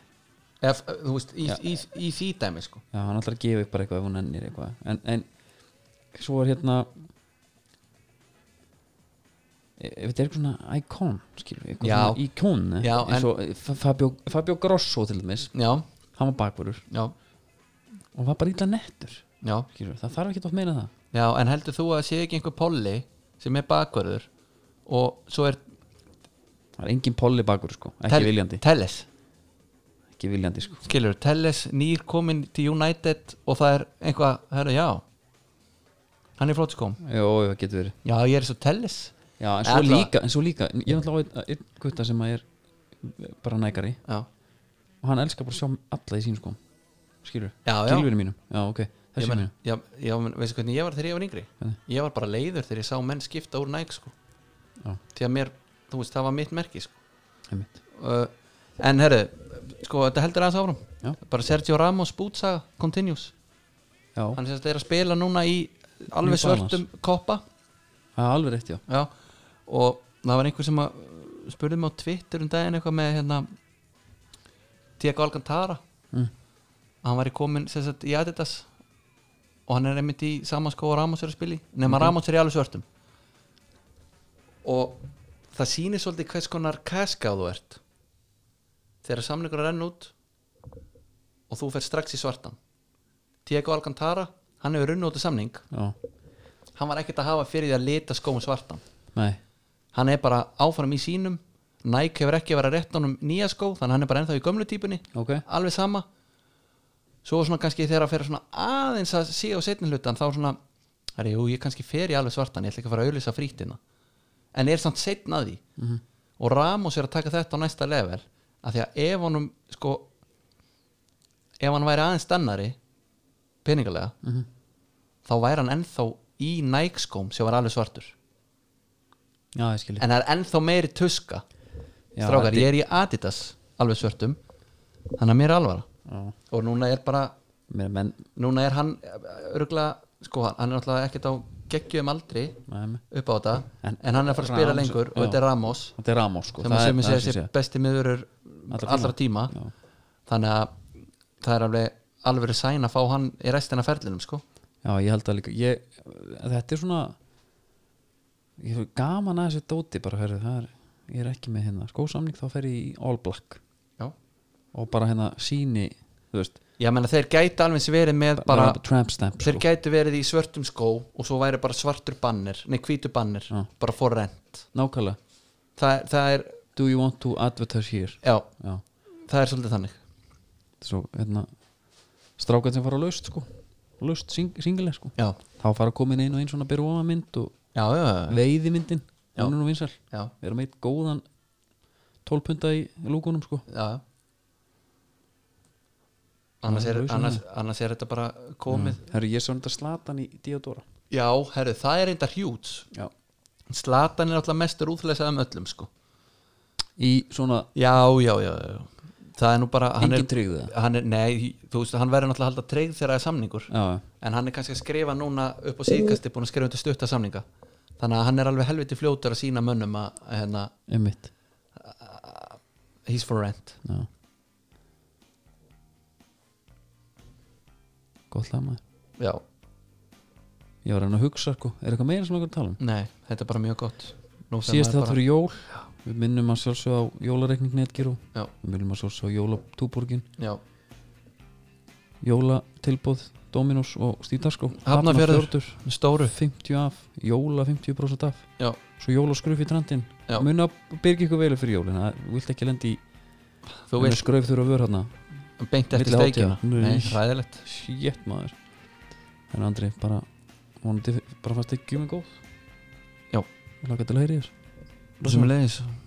B: Ef, þú veist, í, í, í, því dæmi sko
A: já, hann ætlar að gefa upp bara eitthvað ef hún nennir eitthvað en, en svo er hérna e- ef þetta er eitthvað svona íkón skilur við,
B: Já.
A: eitthvað svona íkón eh,
B: Já,
A: eins og Fa- Fabio, Fabio Grosso til dæmis
B: Já,
A: hann var bakvörur
B: já,
A: og var bara illa nettur
B: já,
A: skilur, við, það þarf ekki að meina það
B: já en heldur þú að sé ekki einhver polli sem er bakverður og svo er
A: það er engin polli bakvörur sko, ekki
B: Tel-
A: viljandi
B: Telles
A: ekki viljandi sko,
B: skilur, Telles nýr komin til United og það er einhvað, herru, já hann er flott skóm
A: jú, jú, getur verið
B: já, ég er svo Telles
A: Já, en svo
B: Alla-
A: líka, en svo líka ég er náttúrulega á einn- einn gutta sem að er bara nægari
B: já,
A: og hann elskar bara að sjá alla í sín sko skilur,
B: Já, já.
A: gilfinu mínum já, ok,
B: ég
A: þessi
B: menn,
A: mínum
B: já, já, menn, veistu hvernig ég var þegar ég var yngri ég var bara leiður þegar ég sá menn skipta úr næg sko.
A: Já.
B: því að mér, þú veist, það var mitt merki sko.
A: einmitt,
B: uh, en herru sko, þetta heldur aðeins áfram
A: Já.
B: bara Sergio Ramos bútsaga continues
A: já,
B: hann sérst er að spila núna í
A: New
B: alveg svörtum koppa
A: það er alveg rétt já
B: já, og það var einhver sem að spurði mig á Twitter um daginn eitthvað með hérna Diego Alcantara
A: Mm.
B: hann var í komin sem sagt í Adidas og hann er einmitt í samanskó og Ramos er að spila í nema Ramos er í alveg svörtum og það sýnir svolítið hvers konar kaska þú ert þegar samlingur er renn út og þú fer strax í svartan Diego Alcantara hann hefur runn út í samning
A: já,
B: hann var ekkert að hafa fyrir því að lita skóum svartan
A: nei,
B: hann er bara áfram í sínum Nike hefur ekki verið að rétta honum nýja skó þannig að hann er bara ennþá í gömlu típunni
A: ok
B: alveg sama svo svona kannski þegar að fer svona aðeins að sé á setni hlutan þá svona herri, jú, ég kannski fer í alveg svartan, ég ætla ekki að fara að auðlýsa frítina en er samt setna því -hmm. og Ramos er að taka þetta á næsta level af því að ef honum sko ef hann væri aðeins stannari peningalega -hmm. þá væri hann ennþá í Nike skóm sem var alveg svartur
A: já, ég skilur,
B: en það er ennþá meiri tuska
A: Já,
B: strákar,
A: Adi-
B: ég er í Adidas alveg svörtum þannig að mér er alvara
A: Já.
B: og núna er bara
A: Mér menn
B: núna er hann örgla, sko, hann- hann er náttúrulega ekkert á geggjum aldri
A: Nei,
B: upp á þetta
A: En-
B: en, hann er að fara að spila
A: Ramos-
B: lengur og
A: já.
B: þetta er Ramos
A: Þetta er Ramos sko
B: sem að
A: það
B: sem
A: er-
B: ég
A: það er
B: segi
A: sem
B: sé
A: sé.
B: besti miðurur
A: Allra
B: allra,
A: tíma.
B: tíma
A: Já.
B: þannig að það er alveg alveg sæn að fá hann í restina af ferlinum sko.
A: Já, ég held að líka ég, Þetta er svona ég er gaman að þessu dóti bara herri, það er, ég er ekki með hérna skósamning þá fer ég í All Black
B: já.
A: og bara hérna síni þú veist,
B: ég meina þeir gæti alveg eins verið með bara,
A: bara, tramp stamp
B: þeir
A: sko.
B: gæti verið í svörtum skó og svo væri bara svartur bannir nei hvítu bannir,
A: Já.
B: bara forrent
A: Nákvæmlega,
B: það, er- það er,
A: do you want to advertise here
B: já,
A: Já,
B: það er svolítið þannig
A: svo hérna strákan sem fara á laust sko laust sing single sko
B: já,
A: þá fara að koma inn ein og ein svona byrjóma mynd og
B: já, já, já,
A: veiðimyndin
B: Já.
A: hún er nú vinsal
B: já,
A: við erum eitt góðan 12 punta í lúkunum sko
B: já. Annars, er,
A: Já,
B: Mm.
A: lausan
B: annars, annars er þetta bara komið
A: Herru, ég sá þetta slatan í Diodora
B: já, herru, það er reyndar hjúts
A: Já.
B: Slatan er alltaf mestur útleysað um öllum sko.
A: í svona
B: já, já, já, já það er nú bara hann
A: engin
B: er,
A: tryggðu það
B: hann er, nei, þú veist, hann verður náttúrulega að halda treyð þegar það er samningur
A: já,
B: en hann er kannski að skrifa núna upp á síðkasti búin að skrifa undir stutta samninga þannig að hann er alveg helviti fljótur að sína mönnum að að hérna,
A: um mitt
B: he's for rent
A: já. gott lag maður
B: já,
A: ég var að reyna að hugsa sko, er eitthvað meira sem við að tala um
B: nei, þetta er bara mjög gott Nú sem
A: síðast
B: maður
A: þátt fyrir jól við minnum að sjálfsög á jólareikning netgyrú
B: Já.
A: við minnum að sjálfsög á jólatúborgin
B: bara, já,
A: jólatilbóð Dominos og Stítarskó
B: Hafnarfjörður. með stóru
A: 50 af, jóla 50% af
B: já,
A: svo jólaskröf í trendin
B: Já.
A: mun að byrja ykkur velu fyrir jólin það vilt ekki lendi í
B: þú
A: Hún er
B: veist,
A: skröf þurfa að vera hérna
B: beint eftir
A: Milli hátíða.
B: steikina
A: Nei.
B: nei, ræðilegt
A: Sjétt maður En Andri, bara vonandi bara fannst ekki um en góð
B: Já.
A: Laka til að heyri þér
B: sem er leiðis